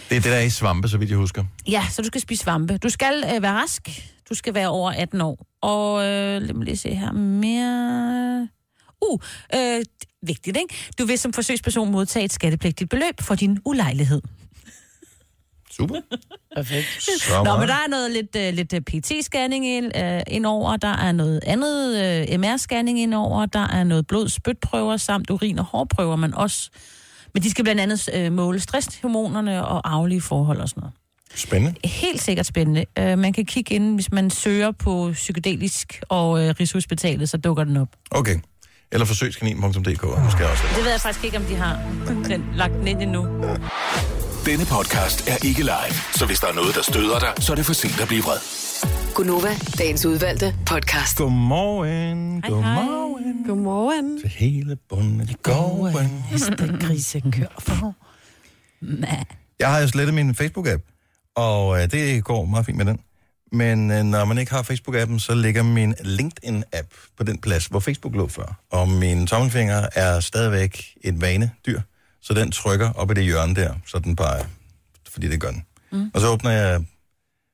Det er det, der er i svampe, så vidt jeg husker. Ja, så du skal spise svampe. Du skal øh, være rask. Du skal være over 18 år. Og øh, lad mig lige se her mere... Uh, øh, vigtigt, ikke? Du vil som forsøgsperson modtage et skattepligtigt beløb for din ulejlighed. Super. Perfekt. Så Nå, meget. men der er noget lidt, øh, lidt øh, PT-scanning ind, øh, indover, der er noget andet øh, MR-scanning indover, der er noget blod, spytprøver samt urin- og hårprøver, man også. Men de skal blandt andet øh, måle stresshormonerne og arvelige forhold og sådan noget. Spændende. Helt sikkert spændende. Øh, man kan kigge ind, hvis man søger på psykedelisk og øh, Rigshospitalet, så dukker den op. Okay. Eller forsøgskanin.dk måske også. Det ved jeg faktisk ikke, om de har den, lagt den ind endnu. Denne podcast er ikke live, så hvis der er noget, der støder dig, så er det for sent at blive vred. Gunova, dagens udvalgte podcast. Godmorgen. Godmorgen. Godmorgen. Til hele bunden i gården. Hestegrise kører for. Jeg har jo slettet min Facebook-app, og øh, det går meget fint med den. Men øh, når man ikke har Facebook-appen, så ligger min LinkedIn-app på den plads, hvor Facebook lå før. Og min tommelfinger er stadigvæk et vanedyr, så den trykker op i det hjørne der, så den bare, fordi det gør den. Mm. Og så åbner jeg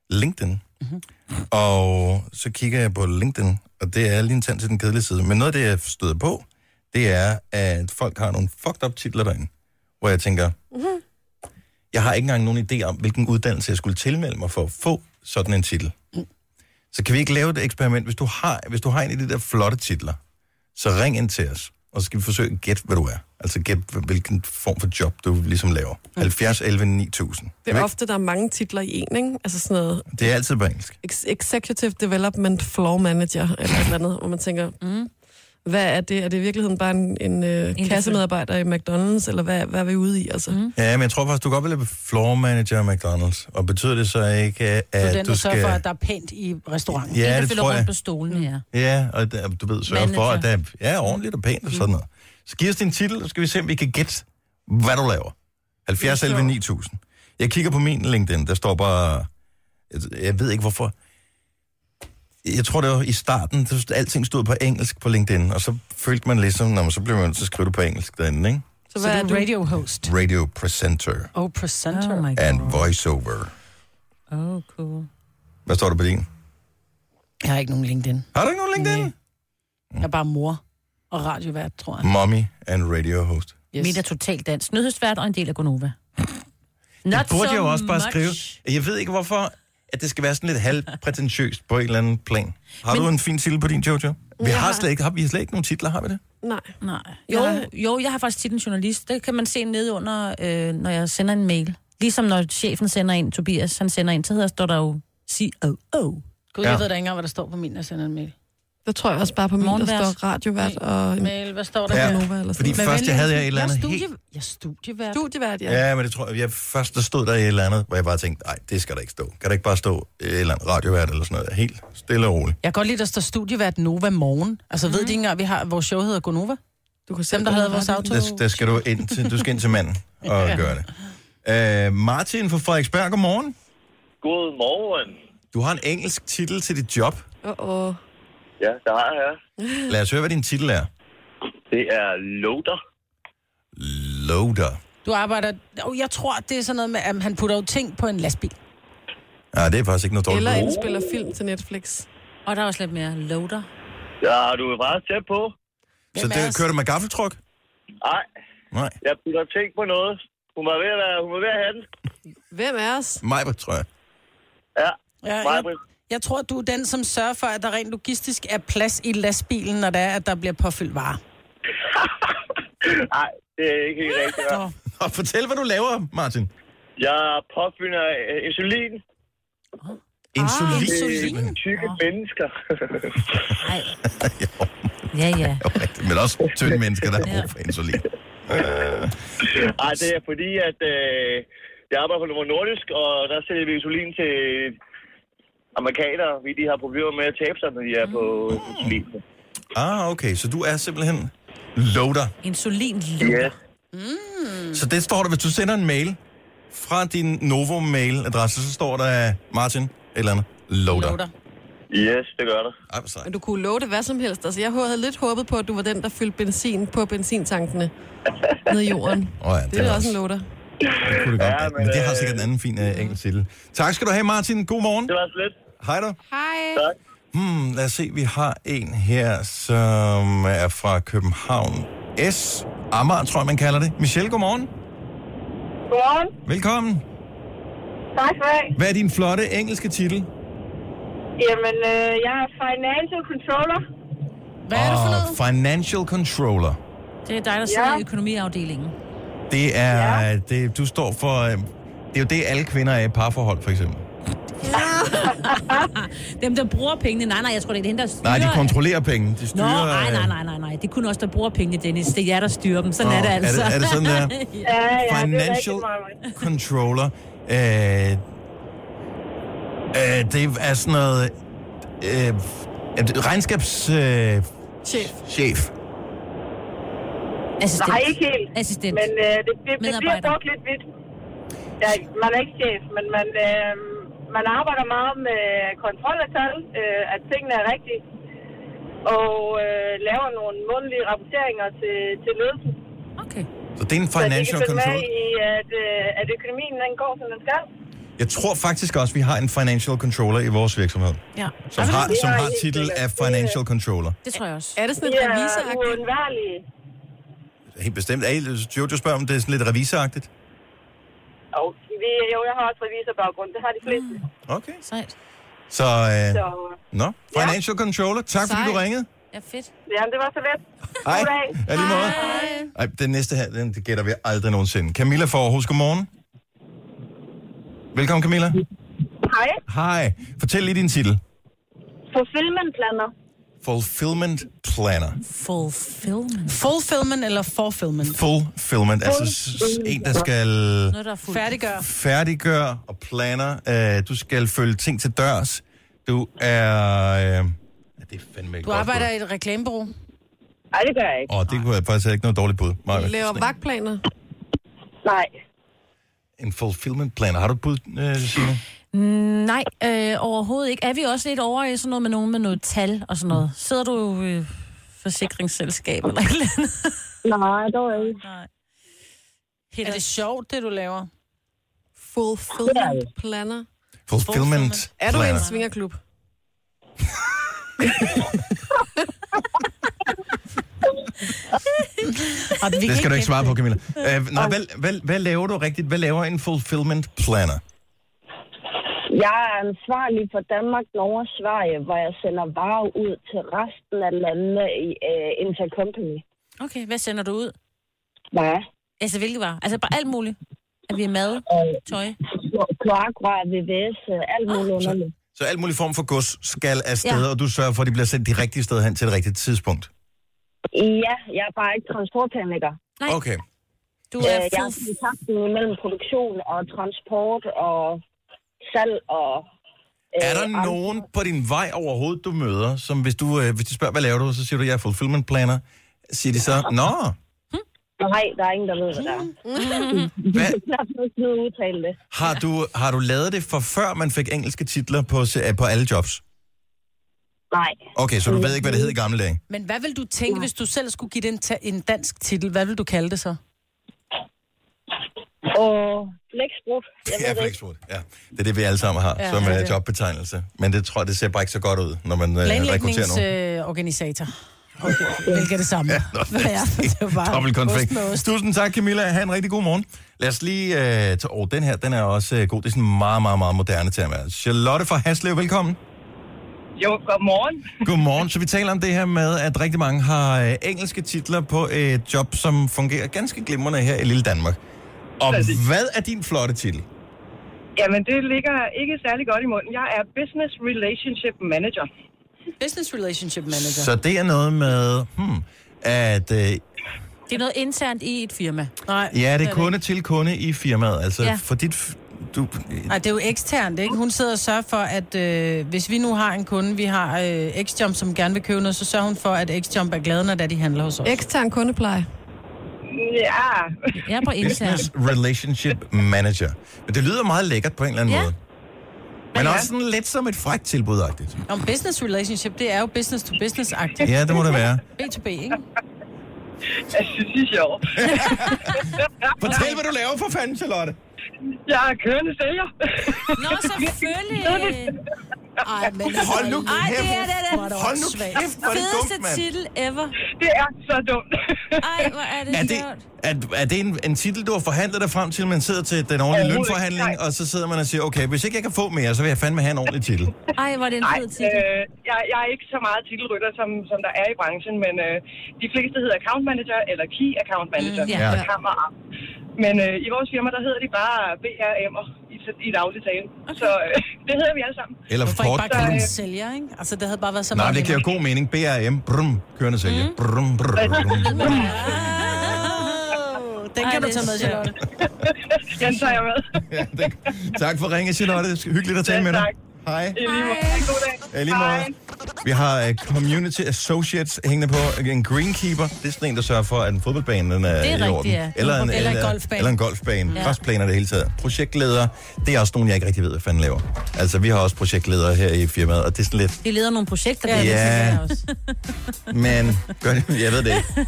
LinkedIn, mm-hmm. og så kigger jeg på LinkedIn, og det er lige en tand til den kedelige side. Men noget af det, jeg støder på, det er, at folk har nogle fucked up titler derinde, hvor jeg tænker, Mm-hmm. jeg har ikke engang nogen idé om, hvilken uddannelse jeg skulle tilmelde mig for at få sådan en titel. Mm. Så kan vi ikke lave et eksperiment? Hvis du har, hvis du har en af de der flotte titler, så ring ind til os, og så skal vi forsøge at gætte, hvad du er. Altså gætte, hv- hvilken form for job du ligesom laver. Mm. 70, 11, 9000. Det er ofte, der er mange titler i en, ikke? Altså sådan noget det er altid på engelsk. ex- Executive Development Floor Manager, eller et eller andet, hvor man tænker, mm. hvad er det? Er det i virkeligheden bare en, en, øh, kassemedarbejder i McDonald's, eller hvad, hvad er vi ude i? Altså? Mm. Ja, men jeg tror faktisk, du godt vil have floor manager i McDonald's. Og betyder det så ikke, at Du er den, du der sørger skal... for, at der er pænt i restauranten. Ja, En, der det flytter tror rundt jeg. på stolen, ja. Ja, og der, du ved, sørge for, at der ja, er ordentligt og pænt og sådan noget. Så giv os din titel, så skal vi se, om vi kan gætte, hvad du laver. 70 11 9000. Jeg kigger på min LinkedIn, der står bare... Jeg ved ikke, hvorfor. jeg tror, det var i starten, så alting stod på engelsk på LinkedIn, og så følte man ligesom, når man så blev man nødt til at skrive det på engelsk derinde, ikke? Så, hvad er du radio host? Radio presenter Oh, presenter. Oh my and voiceover. Oh, cool. Hvad står der på din? Jeg har ikke nogen LinkedIn. Har du ikke nogen LinkedIn? Nej. Jeg er bare mor og radiovært, tror jeg. Mommy and radio host. Yes. Mit er totalt dansk. Nyhedsvært og en del af Gonova. Not det burde so jeg jo også bare much. skrive. Jeg ved ikke, hvorfor at det skal være sådan lidt halvprætentiøst på en eller anden plan. Har Men... Men- du en fin titel på din, Jojo? Vi Jeg har har- slet ikke, har, vi har slet ikke nogen titler, har vi det? Nej. Nej. Jo, Jeg- jo, jeg har faktisk tit en journalist. Det kan man se nede under, øh, når jeg sender en mail. Ligesom når chefen sender en, Tobias, han sender en, så hedder, står der jo COO. Gud, jeg ved da ikke engang, hvad der står på min, når jeg sender en mail. Der tror jeg også bare på min, der Morgenvært. står radiovært og... øh, Mail, hvad står der? Ja, på fordi først, jeg havde jeg et eller andet Jeg er studie... Jeg er studievært. Studievært, Ja. ja, men det tror jeg, jeg først der stod der et eller andet, hvor jeg bare tænkte, nej, det skal der ikke stå. Kan der ikke bare stå øh, et eller andet radiovært eller sådan noget? Helt stille og roligt. Jeg kan godt lide, at der står studievært Nova Morgen. Altså, mm. ved de ikke engang, at vi har, vores show hedder Gonova? Du kan Dem, der havde vores auto. Der, der skal du ind til, du skal ind til manden og Ja. gøre det. Uh, Martin fra Frederiksberg, godmorgen. Godmorgen. Du har en engelsk titel til dit job. Åh, Ja, der har jeg. Lad os høre, hvad din titel er. Det er Loader. Loader. Du arbejder... Oh, jeg tror, det er sådan noget med, at han putter jo ting på en lastbil. Nej, Ah, det er faktisk ikke noget dårligt. Eller ord. indspiller film til Netflix. Og der er også lidt mere loader. Ja, du er bare tæt på. Så det kører du med gaffeltryk? Nej, Nej. jeg putter ting på noget. Hun var ved at, være, hun var ved at have den. Hvem er os? Mig, tror jeg. Ja, Ja, jeg, Majbrit. jeg tror, du er den, som sørger for, at der rent logistisk er plads i lastbilen, når der er, at der bliver påfyldt varer. Nej, det er ikke helt rigtigt. hva'? Og fortæl, hvad du laver, Martin. Jeg påfinder øh, insulin. Insulin. Ah, til Tykke mennesker. Ja, ja. Men også tynde mennesker, der har brug for insulin. Øh, Nej, det er fordi, at øh, jeg arbejder for Novo Nordisk, og der sælger vi insulin til amerikanere, fordi de har problemer med at tabe sig, når de er på insulin. ah, okay, så du er simpelthen loader. Insulin Ja, Mm. Så det står der, hvis du sender en mail fra din Novo-mailadresse, så står der Martin et eller andet. Loader. Loader. yes, det gør der. Ej, hvor sejt. Men du kunne love det hvad som helst. Altså, jeg havde lidt håbet på, at du var den, der fyldte benzin på benzintankene ned i jorden. Åh ja, det er også en loader. det kunne det godt. Ja, men, men det har sikkert en anden fin uh, engelsk titel. Tak skal du have, Martin. God morgen. Det var så lidt. Hej da. Hej. Hmm, lad os se, vi har en her, som er fra København S. Amager, tror jeg, man kalder det. Michelle, godmorgen. Godmorgen. Velkommen. Tak for det. Hvad er din flotte engelske titel? Jamen, øh, jeg er financial controller. Hvad Og Financial Controller. Det er dig, der sidder i økonomiafdelingen. Det er, ja. det, du står for, øh, det er jo det, alle kvinder er i parforhold, for eksempel. Dem, der bruger pengene. Nej, nej, jeg tror, det er hende, der styrer. Nej, de kontrollerer penge. De Nå, styrer, nej, nej, øh, nej, nej, nej. Det er kun også der bruger pengene, Dennis. Det er jer, der styrer dem. Sådan Nå, er det er det- altså. er det sådan, det er? Ja, ja, Financial det er rigtigt, Maja. Controller. Øh, øh, det er sådan noget... Øh, regnskabschef. Øh, Chef. chef. Assistent. Nej, ikke helt. Assistent. Men øh, det, det, det bliver Medarbejder. brugt lidt vidt. Ja, man er ikke chef, men man, øh, man arbejder meget med kontrol af tal, øh, at tingene er rigtige, og øh, laver nogle månedlige rapporteringer til, til ledelsen. Så det er en financial så de kan følge controller. med i, at, øh, at økonomien den går, som den skal. Jeg tror faktisk også, vi har en financial controller i vores virkshed, Ja. som har, som har titel af financial controller. Det tror jeg også. Er det sådan et et revisoragtigt? Ja, uundværlige. Helt bestemt. Er I, Jojo spørger, om det er sådan lidt revisoragtigt. Og vi, jo, jeg har også revisorbaggrund. Det har de fleste. Mm. Okay. Sejt. Så, øh, Så, nå. Financial controller. Tak, fordi du Sejt. ringede. ja, fedt. Jamen, det var så let. Hej. Goddag. Ja, lige måde. Ej, den næste her, den gætter vi aldrig nogensinde. Camilla fra Aarhus, godmorgen. Velkommen, Camilla. Hej. Hej. Fortæl lige din titel. Fulfillment planner. Fulfillment Planner. Fulfillment. Fulfillment eller forfillment? Fulfillment, altså s- s- en, der skal Noget, der er fuldt. Færdiggør. færdiggøre og planer. Øh, du skal følge ting til dørs. Du er... Øh, ja, det er fandme et Du godt arbejder i et reklamebureau. Nej, det gør jeg bud. Åh, det kunne jeg faktisk have ikke noget dårligt bud. Maja. Laver vagtplaner? Nej. En fulfillment planner. Har du et bud, øh, Signe? Nej, øh, overhovedet ikke. Er vi også lidt over i sådan noget med nogen med noget tal og sådan noget? Sidder du i øh, forsikringsselskab eller et eller andet? Nej, dog ikke. Nej. Peter. Er det sjovt, det du laver? Fulfillment planner. Fulfillment Er du i en planner. svingerklub? Og Det skal du ikke svare på, Camilla. Øh, nej, hvad, hvad, hvad laver du rigtigt? Hvad laver en fulfillment planner? Jeg er ansvarlig for Danmark, Norge og Sverige, hvor jeg sender varer ud til resten af landene i uh, Intercompany. Okay, hvad sender du ud? Hvad? Altså, hvilke var? Altså, bare alt muligt. At vi er mad, Øh, tøj. Kloakrør, VVS, øh, alt muligt underligt. Så alt mulig form for gods skal afsted, Ja. ja. og du sørger for, at de bliver sendt de rigtige steder hen til det rigtige tidspunkt. Ja, jeg er bare ikke transportplanlægger. Nej. Okay. Du er øh, jeg er kontakten mellem produktion og transport og salg og... øh, Er Øh, der andre- nogen på din vej overhovedet, du møder, som hvis, du, øh, hvis de spørger, hvad laver du, så siger du, jeg er fulfillment planner. Siger de så, nå, Nej, der er ingen, der ved, hvad det er. Hvad? Jeg har fået sådan noget udtale det. har du, har du lavet det for før, man fik engelske titler på, se- øh, på alle jobs? Nej. Okay, så du ved ikke, hvad det hed i gamle dage? Men hvad vil du tænke, ja. hvis du selv skulle give det en, ta- en dansk titel? Hvad vil du kalde det så? Og blæksprut. Jeg ved Ja, det ikke. flexfood. Ja. Det er det, vi alle sammen har Ja, ja, som det er ja, det. jobbetegnelse. Men det tror jeg, det ser bare ikke så godt ud, når man øh, rekrutterer nogen. Planlægningsorganisator. Okay, hvilket er det samme. Ja, nå, Hvad er det? det? er bare Dobbelt konfekt. øh, ost med ost. Tusind tak, Camilla. Ha' en rigtig god morgen. Lad os lige øh, tage... Oh, den her, den er også øh, god. Det er sådan en meget, meget, meget moderne term. altså. Charlotte fra Haslev, velkommen. Jo, godmorgen. Godmorgen. Så vi taler om det her med, at rigtig mange har øh, engelske titler på et job, som fungerer ganske glimrende her i lille Danmark. Og hvad er din flotte titel? Jamen, det ligger ikke særlig godt i munden. Jeg er Business Relationship Manager. Business Relationship Manager. Så det er noget med, hmm, at øh, Det er noget internt i et firma. Nej. ja, det er kunde til kunde i firmaet. Altså, Ja. ja. for dit... f- Du, Nej, det er jo eksternt, ikke? Hun sidder og sørger for, at øh, hvis vi nu har en kunde, vi har øh, Xjump, som gerne vil købe noget, så sørger hun for, at Xjump er glad, når det er, de handler hos os. Ekstern kundepleje. Ja. Jeg er på internt. Business Relationship Manager. Men det lyder meget lækkert på en eller anden Ja. ja. måde. Men også sådan lidt som et frækt tilbud-agtigt. Om business relationship, det er jo business to business-agtigt. Ja, det må det være. B2B, ikke? Jeg synes, det er sjovt. Fortæl, hvad du laver for fanden, Charlotte. Jeg er kørende sælger. Nå, selvfølgelig. altså- Ej, men Hold nu Ej, det kæft. er det, det. Hvor er det Hold nu åndssvagt. kæft, hvor er det Fedeste dumt, mand. titel ever. Det er så dumt. Ej, hvor er det, Er det, sjovt. er, er det en, en titel, du har forhandlet dig frem til, man sidder til den ordentlige Overhovedet ikke, lønforhandling, og så sidder man og siger, okay, hvis ikke jeg kan få mere, så vil jeg fandme have en ordentlig titel. Ej, hvor er det en fed titel. Øh, jeg, jeg er ikke så meget titelrytter, som, som der er i branchen, men øh, de fleste hedder account manager eller key account manager. Mm, ja. eller kammer. Men øh, i vores firma, der hedder de bare BRM'er i, i daglig tale. Okay. Så øh, det hedder vi alle sammen. Eller for Hvorfor ikke kort bare kalde kalde den den sælger, ikke? Altså, det havde bare været så Nej, meget men det giver nemmere. god mening. BRM, brum, kørende sælge. Mhm. Brum, brum, brum, brum. Ah. Den kan du tage med, Charlotte. Den tager jeg med. Tak for ringe, Charlotte. Hyggeligt at tale med dig. Hej. Ja, i lige måde. Vi har øh, Community Associates hængende på. En greenkeeper, det er sådan en, der sørger for, at en fodboldbane den er, Det er i rigtigt, orden. ja. Eller, en, Eller en golfbane. Eller en golfbane. Ja. Ja. Græsplaner i det hele taget. Projektleder, det er også nogen, jeg ikke rigtig ved, hvad fanden laver. Altså, vi har også projektledere her i firmaet, og det er sådan lidt... De leder nogle projekter. Ja. det tænker jeg også. Men gør det, jeg ved det ikke.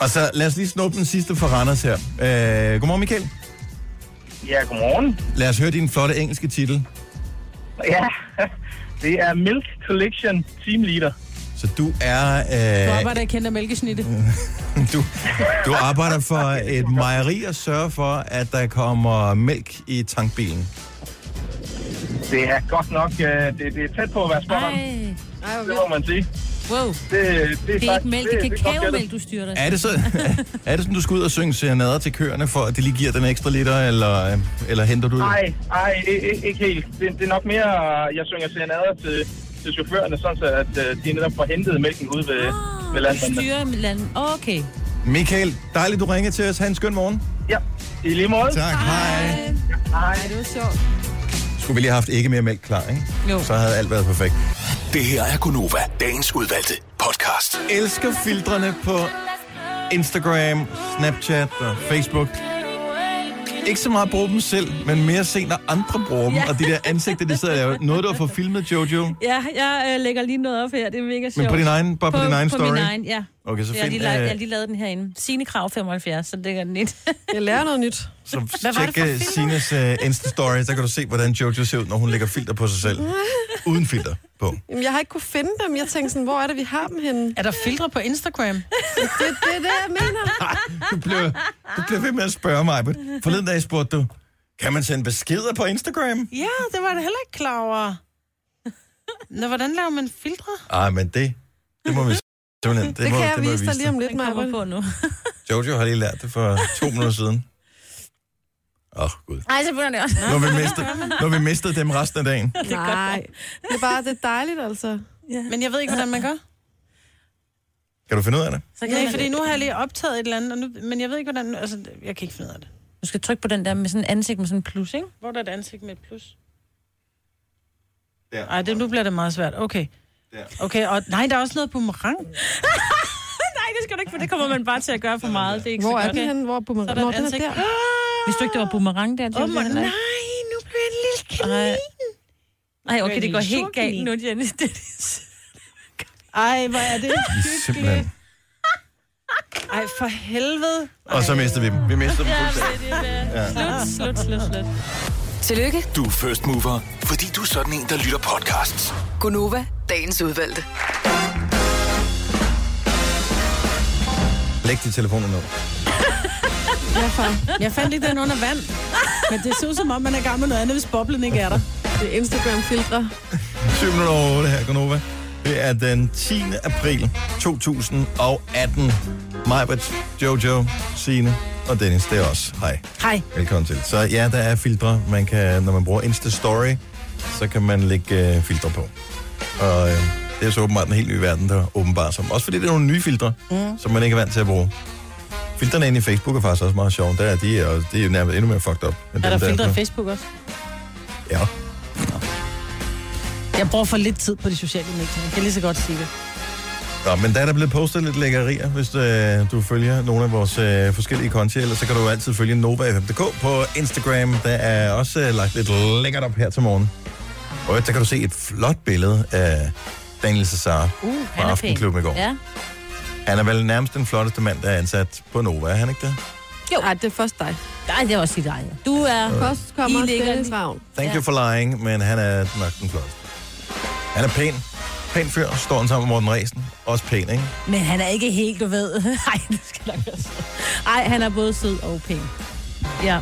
Og så lad os lige snuppe den sidste for Randers her. Øh, godmorgen, Michael. Ja, godmorgen. Lad os høre din flotte engelske titel. Ja, det er Milk Collection Team Leader. Så du er... Du Øh, arbejder i kendt mælkesnitte. Du, du arbejder for et mejeri og sørger for, at der kommer mælk i tankbilen. Det er godt nok, øh, det, det er tæt på at være spot on. Det må man sige. Wow. Det, Det er ikke faktisk- mælk, det er godt gættet. kakaomælk, du styrer dig. Er det, så, er det sådan, du skal ud og synge serenader til køerne, for at de lige giver den ekstra liter, eller, øh, eller henter du det? Nej, nej, ikke, ikke helt. Det, det er nok mere, jeg synger serenader til, til chaufførerne, sådan så at øh, de netop får hentet mælken ude ved, ved Ah, Du landmændene. styrer landet. Okay. Michael, dejligt, du ringede til os. Ha' en skøn morgen. Ja, i lige måde. Tak, hej. Hej. det var sjovt. Skulle vi lige have haft ikke mere mælk klar, ikke? Jo. Så havde alt været perfekt. Det her er Gunova, dagens udvalgte podcast. Elsker filtrene på Instagram, Snapchat og Facebook. Ikke så meget bruge dem selv, men mere se, når andre bruger dem. Ja. Og de der ansigter, de sidder og laver. Noget, du har fået filmet, Jojo. Ja, jeg øh, lægger lige noget op her. Det er mega sjovt. på din egen- bare på din egen på story? Min egen, ja. Okay, så jeg, har find, lige, la- jeg øh, har lige lavet den herinde. Signe Krav 75, så lægger den ind. jeg lærer noget nyt. Så tjek øh, Sines uh, Insta-story, der kan du se, hvordan Jojo ser ud, når hun lægger filter på sig selv. Uden filter på. Jamen, jeg har ikke kunne finde dem. Jeg tænkte sådan, hvor er det, vi har dem henne? Er der filtre på Instagram? det, det er det, jeg mener. Du bliver, du bliver ved med at spørge mig. Britt. Forleden dag spurgte du, kan man sende beskeder på Instagram? Ja, det var det heller ikke klar over. Nå, hvordan laver man filtre? Ej, men det, det må vi simpelthen. Det, må, det må om lidt, Maja. Den kommer på nu. Jojo har lige lært det for to minutter siden. Åh, oh, Gud. Ej, så begynder det også. Når vi, mistede, når vi mistede dem resten af dagen. Det er godt. Nej, det er bare det er dejligt, altså. Ja. Men jeg ved ikke, hvordan man gør. Kan du finde ud af det? Så Nej, fordi nu har jeg lige optaget et eller andet, og nu, men jeg ved ikke, hvordan... Altså, jeg kan ikke finde ud af det. Du skal trykke på den der med sådan en ansigt med sådan en plus, ikke? Hvor er der et ansigt med et plus? Der. Ej, det, nu bliver det meget svært. Okay. Okay, og nej, der er også noget boomerang. Nej, det skal du ikke, for det kommer man bare til at gøre for meget. Det er ikke Hvor så er godt. den henne? Hvor er Så er boomerang? der Nå, et den er ansigt. der. Hvis du ikke, det var boomerang der, Ah! Åh, oh, nej, nu blev jeg en lille kanin. Nej, okay, det går helt galt nu, Janice. Det er Ej, hvor er det hyggeligt. Simpelthen. Ej, for helvede. Og så mistede vi dem. Vi mistede dem fuldstændig. Ja. Slut, slut, slut. Tillykke, Du er first mover, fordi du er sådan en, der lytter podcasts. Gunova, dagens udvalgte. Læg dit telefonnummer ned. Hvorfor? Jeg fandt ikke den under vand. Men det ser ud som om, man er i gang med noget andet, hvis boblen ikke er der. Det er Instagram-filtre. 7 minutter over 8 her, Gunova. Det er den 10. april 2018. Majbert, Jojo, Sine og Dennis, det er os. Hej. Hej. Velkommen til. Så ja, der er filtre. Man kan, når man bruger Insta-story, så kan man lægge øh, filtre på. Og øh, det er så åbenbart en helt ny verden, der åbenbarer sig. Også fordi det er nogle nye filtre, mm. som man ikke er vant til at bruge. Filtrene inde i Facebook er faktisk også meget sjove. Der er de, og det er jo nærmest endnu mere fucked up. end Er dem, der filtre på- af Facebook også? Ja. Jeg bruger for lidt tid på de sociale medier. Jeg kan lige så godt sige det. Nå, men der er der blevet postet lidt lækkerier, hvis øh, du følger nogle af vores øh, forskellige konti, eller så kan du jo altid følge NovaFM.dk på Instagram. Der er også øh, lagt lidt lækkert op her til morgen. Og der kan du se et flot billede af Daniel Cesar uh, fra pæn. Aftenklubben i går. Ja. Han er vel nærmest den flotteste mand, der er ansat på Nova, er han ikke det? Jo. Ej, det er først dig. Nej, det er også lige dig. ja. Du er... Øh. Først kommer I ligger Dennis lige- Ravn. Thank ja. you for lying, men han er nok den flotteste. Han er pæn. Pæn fyr, står han sammen med Morten Ræsen. Også pæn, ikke? Men han er ikke helt, du ved. Nej, det skal nok være sød. Ej, han er både sød og pæn. Ja.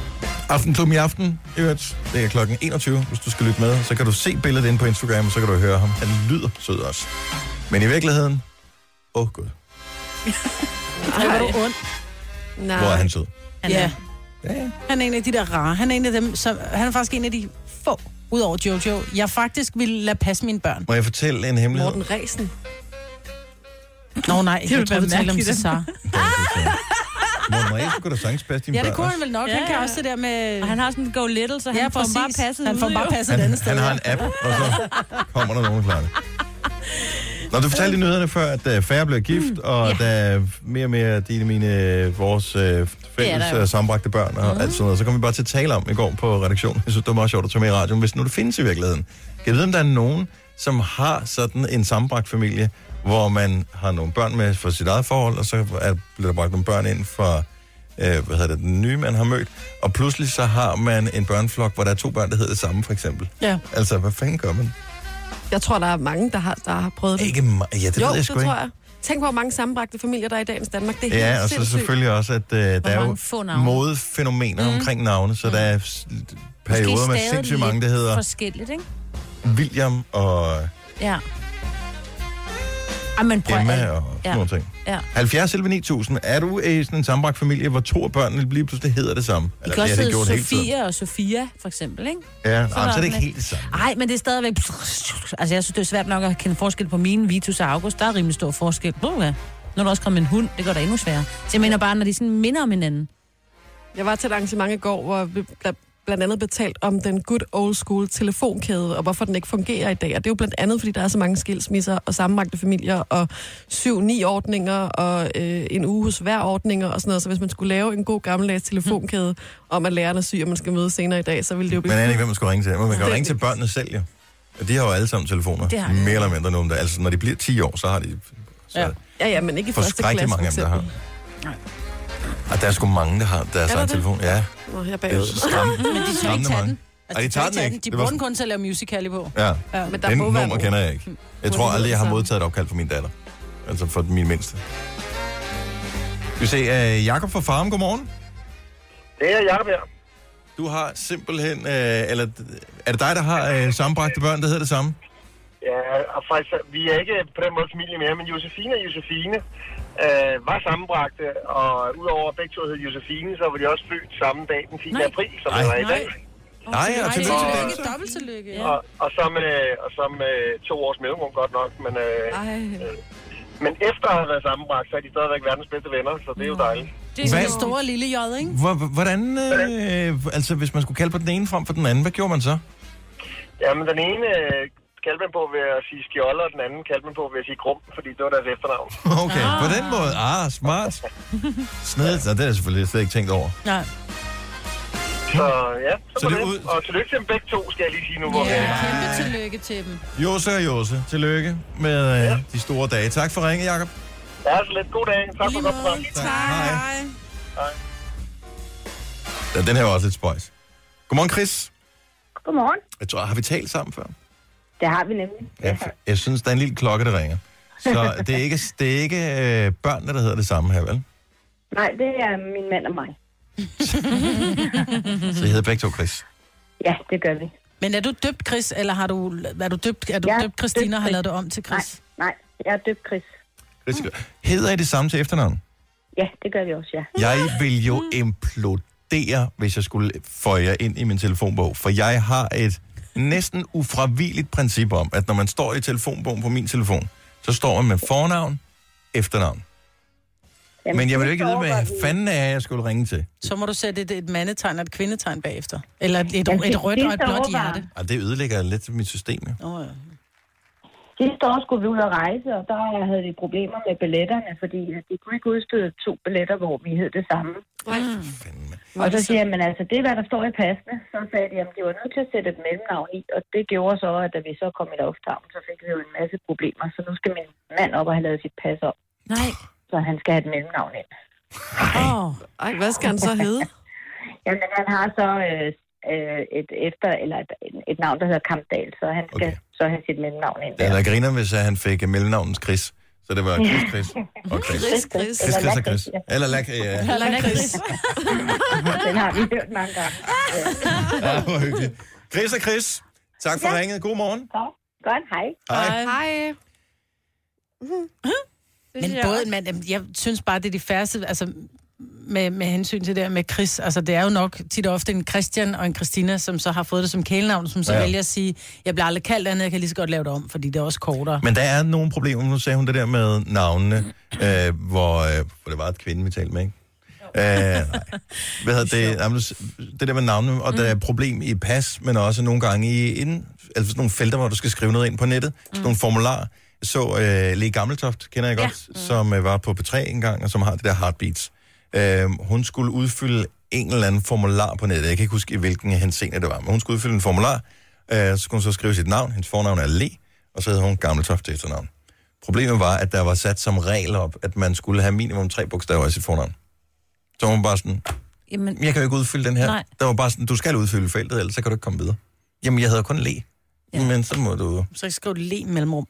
Aftenklubben i aften, i øvrigt. Det er klokken 21, hvis du skal lytte med. Så kan du se billedet inde på Instagram, og så kan du høre ham. Han lyder sød også. Men i virkeligheden, åh oh gud, Ej, hvor er du ond. Nej. hvor er han sød. Han ja. Er. Han er en af de der rare. Han er en af dem, som, han er faktisk en af de få, udover Jojo, jeg faktisk ville lade passe mine børn. Må jeg fortælle en hemmelighed? Morten Ræsen. Nå nej, ville jeg tror, være vi taler om mærkeligt. Cesar. Morten Ræsen kunne da sagtens passe dine Ja, det børn kunne også. han vel nok. Ja, han kan også det der med... Og han har sådan en go little, så han Ja, får præcis. bare passet Han får ude, bare jo. passet et andet sted. Han har en app, og så kommer der nogen og klarer det. Når du fortalte i nyhederne før, at øh, færre bliver Mm. gift, og ja. der er mere og mere dine, mine, øh, vores øh, fælles der jo. øh, sammenbragte børn og mm. alt sådan noget, så kom vi bare til at tale om i går på redaktionen. Jeg synes, det var meget sjovt at tage med i radioen, hvis nu det findes i virkeligheden. Kan jeg vide, om der er nogen, som har sådan en sammenbragt familie, hvor man har nogle børn med for sit eget forhold, og så er, bliver der bragt nogle børn ind fra øh, hvad hedder det, den nye, man har mødt, og pludselig så har man en børneflok, hvor der er to børn, der hedder det samme, for eksempel. Ja. Altså, hvad fanden gør man? Jeg tror, der er mange, der har, der har prøvet det. Ikke mig. Ja, det ved jo, jeg det sgu tror ikke. jeg. Tænk, hvor mange sammenbragte familier, der er i dagens Danmark. Det er Ja, helt og så sindssygt. selvfølgelig også, at øh, der er mange få jo navne. modefænomener mm. omkring navne, så der er s- perioder med stadig sindssygt lidt mange, der hedder Forskelligt, ikke? William og Ja. Ej, men prøv at- Emma og sådan ja. nogle ting. Ja. 70 11 9000. Er du i sådan en sammenbragt familie, hvor to af børnene lige pludselig hedder det samme? Det kan også det har de hedde gjort hele tiden. Sofia og Sofia, for eksempel, ikke? Ja, nej, så er det noget ikke med- helt det samme. Nej, men det er stadigvæk... Altså, jeg synes, det er svært nok at kende forskel på mine, Vitus og August. Der er rimelig stor forskel. Nå, ja. Når der også kommer en hund, det gør det endnu sværere. Så jeg mener bare, når de sådan minder om hinanden. Jeg var til et arrangement i går, hvor vi- der blandt andet betalt om den good old school telefonkæde, og hvorfor den ikke fungerer i dag. Og det er jo blandt andet, fordi der er så mange skilsmisser og sammenmagte familier, og syv-ni ordninger, og øh, en uge hos hver ordninger og sådan noget. Så hvis man skulle lave en god gammeldags telefonkæde Mm. om, at læreren er syg, og man skal møde senere i dag, så ville det jo blive... Man aner ikke, hvem man skulle ringe til. Men man kan jo Mm. Det- ringe til børnene selv, jo. Og de har jo alle sammen telefoner. Det har de. Mere eller mindre nogen der. Altså, når de bliver 10 år, så har de Ja. ja, ja, men ikke i første klasse, forskrækkelig øh, mange af dem, der har. Og der er sgu mange, der har deres der egen det? telefon. Ja. Nå, jeg er Det er bagud. skræm, Men de tør ikke skræmmende tage mange. den. Altså, Ej, de tager den ikke. De Det var bruger sådan- den kun til at lave musical på. Ja. Ja, men der Den må være nummer nogen. kender jeg ikke. Jeg Hvor tror de aldrig, jeg hedder har så. modtaget et opkald fra min datter. Altså fra min mindste. Vi ser uh, Jakob fra Farm. Godmorgen. Det er Jacob her. Du har simpelthen... Uh, eller er det dig, der har uh, sammenbragte børn, der hedder det samme? Ja, og faktisk, vi er ikke på den måde familie mere, men Josefine og Josefine øh, var sammenbragte, og udover at begge to hed Josefine, så var de også født samme dag, den 10. april, som det Nej. var i dag. Nej, og tillykke. Og- Dobbelt tillykke. Og, og så med, og så med to års mellemrum godt nok, men, øh, øh, men efter at have været sammenbragt, så er de stadigvæk verdens bedste venner, så det er jo dejligt. Det er sådan Hvad- en stor lille jod, ikke? Hvor- Hvordan... Uh, altså, hvis man skulle kalde på den ene frem for den anden, hvad gjorde man så? Jamen, den ene øh, kaldte man på ved at sige skjolder, og den anden kaldte man på ved at sige grum, fordi det var deres efternavn. Okay, ah. på den måde. Ah, smart. Snedigt. Nå, det har jeg selvfølgelig slet ikke tænkt over. Nej. Så ja, så, Så så det det er ud- Og tillykke til dem begge to, skal jeg lige sige nu. Hvor Ja, yeah. kæmpe tillykke til dem. Jose og Jose, tillykke med øh, ja. de store dage. Tak for ringen, Jacob. Ja, så lidt. God dag. Tak for godt program. Hej. Ja, den her var også lidt spøjs. Godmorgen, Chris. Godmorgen. Jeg tror, har vi talt sammen før? Det har vi nemlig. Jeg, jeg synes, der er en lille klokke, der ringer. Så det er ikke, det er ikke øh, børnene, der hedder det samme her, vel? Nej, det er min mand og mig. Så jeg hedder begge to Chris. ja, det gør vi. Men er du døbt, Chris, eller har du, er du døbt, er du Jeg er døbt Christina og har døbt lavet det om til Chris? Nej, jeg er døbt Chris. Chris. Hedder I det samme til efternavn? Ja, det gør vi også, ja. Jeg vil jo implodere, hvis jeg skulle få jer ind i min telefonbog, for jeg har et næsten ufravigeligt princip om, at når man står i telefonbogen på min telefon, så står man med fornavn, efternavn. Jamen, Men jeg vil jo ikke vide, hvad fanden er, jeg skulle ringe til. Så må du sætte et, et mandetegn og et kvindetegn bagefter. Eller et, et, Jamen, et rødt og et sidste blåt år var- hjerte. Og det ødelægger lidt mit system. jo. Oh, ja. Sidste år skulle vi ud og rejse, og der havde vi problemer med billetterne, fordi at de kunne ikke udstede to billetter, hvor vi hed det samme. Mm. Og så siger jeg, men altså, det er, hvad der står i passene. Så sagde de, at de var nødt til at sætte et mellemnavn i, og det gjorde så, at da vi så kom i lufthavnen, så fik vi jo en masse problemer. Så nu skal min mand op og have lavet sit pas op. Nej. Så han skal have et mellemnavn ind. Oh, ej, hvad skal han så hedde? Jamen, han har så øh, øh, et efter, eller et, et navn, der hedder Kampdal, så han skal okay. så have sit mellemnavn ind. Det havde griner, hvis øh, han fik øh, mellemnavnet Chris. Så det var Chris, Chris og Chris. Chris, Chris. Chris, Chris og Eller Chris. Eller lak, ja. Chris. Den har vi hørt mange gange. Ja. ja, hvor hyggeligt. Chris og Chris, tak for ja. ringet. God morgen. Godt, hej. Hej. Hej. Men både en mand, jamen, jeg synes bare, det er de færreste, altså med, med hensyn til det her med Chris, altså det er jo nok tit og ofte en Christian og en Christina, som så har fået det som kælenavn, som så Ja. ja. vælger at sige, jeg bliver aldrig kaldt andet, jeg kan lige så godt lave det om, fordi det er også kortere. Men der er nogle problemer. Nu sagde hun det der med navnene, øh, hvor, øh, hvor det var et kvinde, vi talte med, ikke? Øh, nej. hvad hedder det? Jamen, du s- det der med navnene, og der er et problem i pas, men også nogle gange i inden, altså sådan nogle felter, hvor du skal skrive noget ind på nettet, sådan nogle formularer. Jeg så øh, Lee Gammeltoft, kender jeg godt, Mm. ja. mm. som øh, var på P3 engang, og som har det der Heartbeats. Øh, hun skulle udfylde en eller anden formular på nettet. Jeg kan ikke huske, i hvilken henseende det var, men hun skulle udfylde en formular, øh, så skulle hun så skrive sit navn, hendes fornavn er Le, og så hedder hun Gammeltoft til efternavn. Problemet var, at der var sat som regel op, at man skulle have minimum tre bogstaver i sit fornavn. Så var hun bare sådan, Jamen, jeg kan jo ikke udfylde den her. Nej. Der var bare sådan, du skal udfylde feltet, ellers så kan du ikke komme videre. Jamen, jeg hedder kun Le. Ja. Men så må du... Så ikke skrive le mellemrum.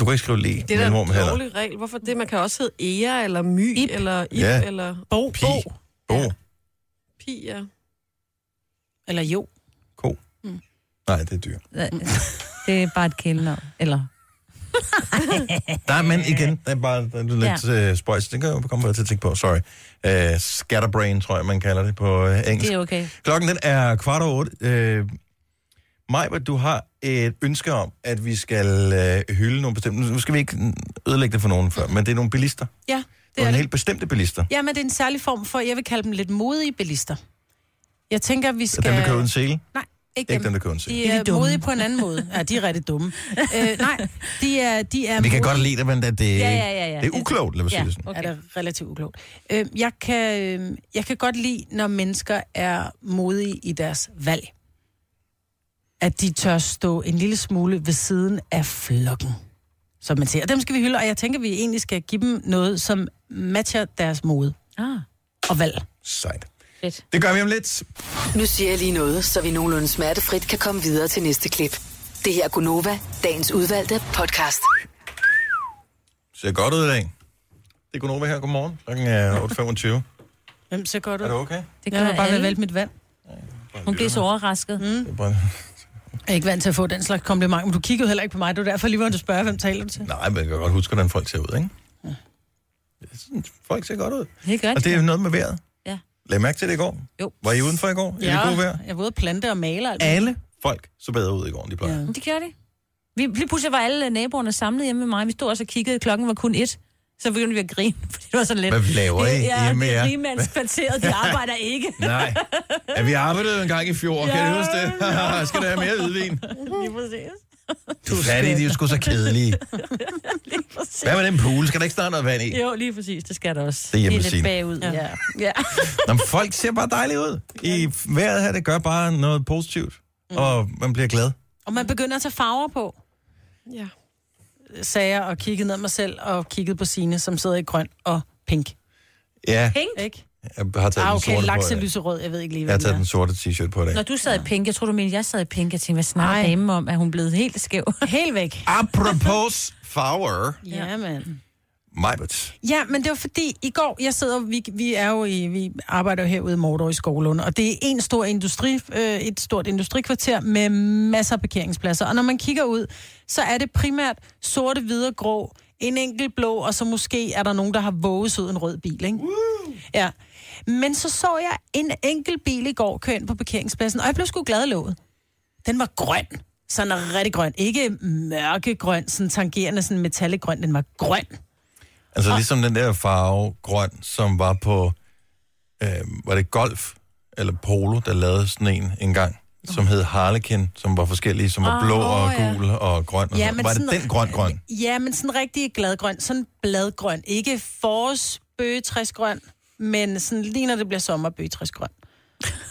Du kan ikke skrive Le Det er da mellemrum en heller. dårlig regel. Hvorfor det? Man kan også hedde Ea, eller My, Ip. eller Ip, Ja. eller Bo, Pi. Bo. Pia. Eller jo. Nej, det er dyr. det er bare et kælenavn. Eller... Nej, men igen, det er bare det er lidt ja. uh, spøjs. Det kan jeg jo komme til at tænke på, sorry. Uh, scatterbrain, tror jeg, man kalder det på uh, engelsk. Det er okay. Klokken den er kvart over otte. Øh, Majbert, du har et ønske om, at vi skal øh, hylde nogle bestemte... Nu skal vi ikke ødelægge det for nogen før, men det er nogle bilister. Ja, det Det er er nogle det. helt bestemte bilister. Ja, men det er en særlig form for, jeg vil kalde dem lidt modige bilister. Jeg tænker, vi skal... Dem, der køber en sele? Nej, Ikke dem, der køber en sele. De er, modige på en anden måde. Ja, de er rigtig dumme. øh, nej, de er, de er Vi kan modige. godt lide det, men det, det, Ja, ja, ja, ja. det er uklogt, lad os sige det sådan. Okay. Er det relativt uklogt. Øh, jeg, kan, øh, jeg kan godt lide, når mennesker er modige i deres valg. At de tør stå en lille smule ved siden af flokken, som man siger. Og dem skal vi hylde, og jeg tænker, vi egentlig skal give dem noget, som matcher deres mode ah. og valg. Sejt. Det gør vi om lidt. Nu siger jeg lige noget, så vi nogenlunde smertefrit kan komme videre til næste klip. Det her er Gunova, dagens udvalgte podcast. Ser godt ud i dag. Det er Gunova her. Godmorgen. Klokken er 8.25. Hvem ser godt ud? Er det okay? Det Det kan gør jeg bare alle. være vælt mit vand. Hun blev så overrasket. Mm. Bare- Jeg er ikke vant til at få den slags kompliment, men du kiggede jo heller ikke på mig. Det var derfor lige, hvor du spørger, hvem taler du til. Nej, men jeg kan godt huske, hvordan folk ser ud, ikke? Det er sådan, Folk ser godt ud. Det Og det er noget med vejret. Ja. Lagde I mærke til det i går? Jo. Var I udenfor i går? Ja. I det gode vejr? jeg var ude at plante og male. og alt. Alle folk så bedre ud i går, end de plejer. Ja. Det gjorde det. Vi, lige pludselig var alle øh, naboerne samlet hjemme med mig. Vi stod også og kiggede. Klokken var kun et. Så begyndte vi at grine, fordi det var sådan lidt... Hvad laver I ja, hjemme med det er jer? rigmandskvarteret, de arbejder ikke. Nej. Ja, vi arbejdede jo en gang i fjor, ja. kan du huske det? Skal der have mere hvidvin? Lige præcis. Du er fattig, de er jo sgu så kedelige. Lige præcis. Hvad med den pool? Skal der ikke snart noget vand i? Jo, lige præcis. Det skal der også. Det er hjemme Det ved er lidt Signe. bagud. Ja. ja. ja. Nå, men folk ser bare dejligt ud. I vejret her, det gør bare noget positivt. Mm. Og man bliver glad. Og man begynder at tage farver på. Ja. Sagde jeg og kiggede ned mig selv og kiggede på sine, som sidder i grøn og pink. Ja, Pink? Ikke? jeg har taget Ah, den okay, sorte på i dag. lakselyserød, jeg ved ikke lige, Jeg har hvad taget det den sorte t-shirt på i dag. Når du sad i pink, jeg tror du mente, jeg sad i pink. Jeg tænkte, hvad snakker damen om? Er hun blevet helt skæv? Helt væk. Apropos farver, er. Ja, mand. Majbert. Ja, men det var fordi, i går, jeg sidder, vi, vi er jo i, vi arbejder jo herude i Mordor i Skovlund, og det er en stor industri, øh, et stort industrikvarter med masser af parkeringspladser. Og når man kigger ud, så er det primært sorte, hvide og grå, en enkelt blå, og så måske er der nogen, der har våget sig ud en rød bil, ikke? Ja. Men så så jeg en enkelt bil i går køre ind på parkeringspladsen, og jeg blev sgu glad i låget. Den var grøn. Sådan er rigtig grøn. Ikke mørkegrøn, sådan tangerende, sådan metallegrøn. Den var grøn. Altså Ah. ligesom den der farve grøn, som var på, øh, var det golf eller polo, der lavede sådan en engang, som hed Harlekin, som var forskellige, som var Åh, blå og Ah, åh, ja. gul og grøn. Og Ja, sådan. men var det sådan- den grøn-grøn? Ja, men sådan rigtig gladgrøn. Sådan bladgrøn. Ikke forårsbøgetræsgrøn, men sådan lige når det bliver sommerbøgetræsgrøn.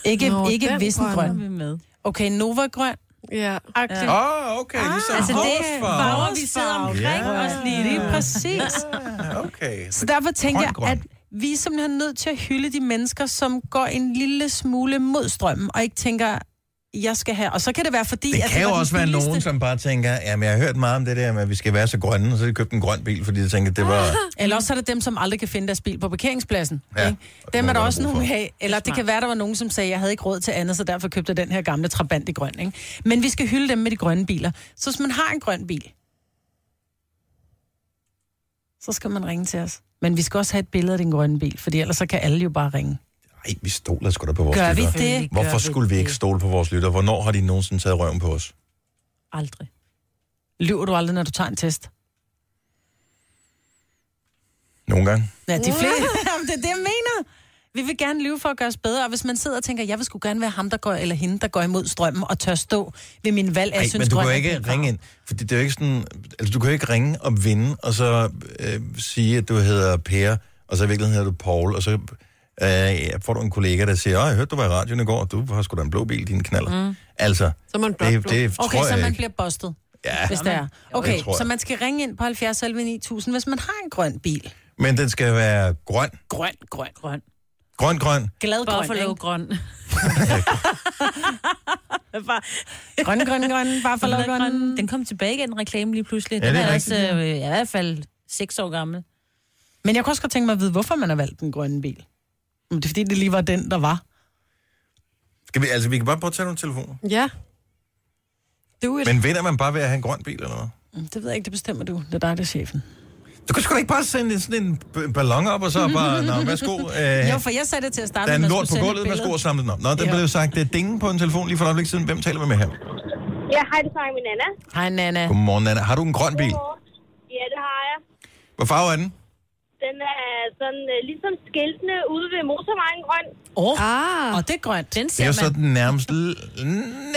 Ikke, Nå, Nå, ikke den grøn er vissengrøn. med. Okay, Nova-grøn. Ja. Agtig. Åh, oh, okay, ligesom altså det er hårsfarve. farver, vi sidder omkring Ja. Ah, ja. os lige. Lige præcis. Okay. Så derfor tænker jeg, Grøn-grøn. at vi er simpelthen nødt til at hylde de mennesker, som går en lille smule mod strømmen, og ikke tænker, jeg skal have. Og så kan det være, fordi... Det at kan jo var altså, den også være billigste. nogen, som bare tænker, jamen jeg har hørt meget om det der med, at vi skal være så grønne, og så har de købt en grøn bil, fordi de tænker, det var... Eller også er det dem, som aldrig kan finde deres bil på parkeringspladsen. Ja, Dem er der også brug nogen for. af. Eller det kan være, der var nogen, som sagde, jeg havde ikke råd til andet, så derfor købte jeg den her gamle Trabant i grøn. Ikke? Men vi skal hylde dem med de grønne biler. Så hvis man har en grøn bil, så skal man ringe til os. Men vi skal også have et billede af din grønne bil, for ellers så kan alle jo bare ringe. Ej, vi stoler sgu da på vores Gør vi lytter. det? Gør Hvorfor vi skulle vi ikke stole på vores lytter? Hvornår har de nogensinde taget røven på os? Aldrig. Lyver du aldrig, når du tager en test? Nogle gange. Ja, de fleste. Jamen, det er det, jeg mener. Vi vil gerne lyve for at gøre os bedre, og hvis man sidder og tænker, jeg vil sgu gerne være ham, der går, eller hende, der går imod strømmen og tør stå ved min valg, af, Ej, jeg synes, men du kan grøn jo er ikke pæn farve. ringe ind, for det er jo ikke sådan, altså du kan jo ikke ringe og vinde, og så øh, sige, at du hedder Per, og så i virkeligheden hedder du Paul, og så øh, ja, får du en kollega, der siger, åh, jeg hørte, du var i radioen i går, og du har sgu da en blå bil, din knaller. Mm. Altså, Så man det, det okay, tror så jeg man ikke. bliver bustet. Ja. Hvis det er. Okay, Det tror jeg. så man skal ringe ind på 70 11 9000, hvis man har en grøn bil. Men den skal være grøn. Grøn, grøn, grøn. Grøn, grøn. Glad grøn, Buffalo ikke? grøn. Grøn, grøn, grøn. Buffalo grøn. grøn. Den kom tilbage igen, en reklame lige pludselig. Ja, den det er er, rigtigt, også, ja. øh, jeg er i hvert fald seks år gammel. Men jeg kunne også godt tænke mig at vide, hvorfor man har valgt den grønne bil. Om det er fordi, det lige var den, der var. Skal vi, altså, vi kan bare prøve at tage nogle telefoner. Ja. Do it. Men vinder man bare ved at have en grøn bil eller noget? Mm, Det ved jeg ikke, det bestemmer du. Det er dig, der er chefen. Du kan sgu da ikke bare sende en- sådan en b- ballon op, og så bare, nå, værsgo. Øh, jo, for jeg sagde det til at starte der er en med, lort på gulvet, man værsgo skulle og sende samle den op. Nå, der Ja. blev jo sagt, det er dingen på en telefon lige for et øjeblik siden. Hvem taler vi med her? Ja, hej, det er min Anna. et billede. Hej, Nana. Godmorgen, Anna. Har du en grøn bil? Ja, det har jeg. Hvad farve er den? Den er sådan, øh, ligesom skiltene ude ved motorvejen grøn. Oh. Ah. Og det er grønt. Den Det er jo sådan nærmest l-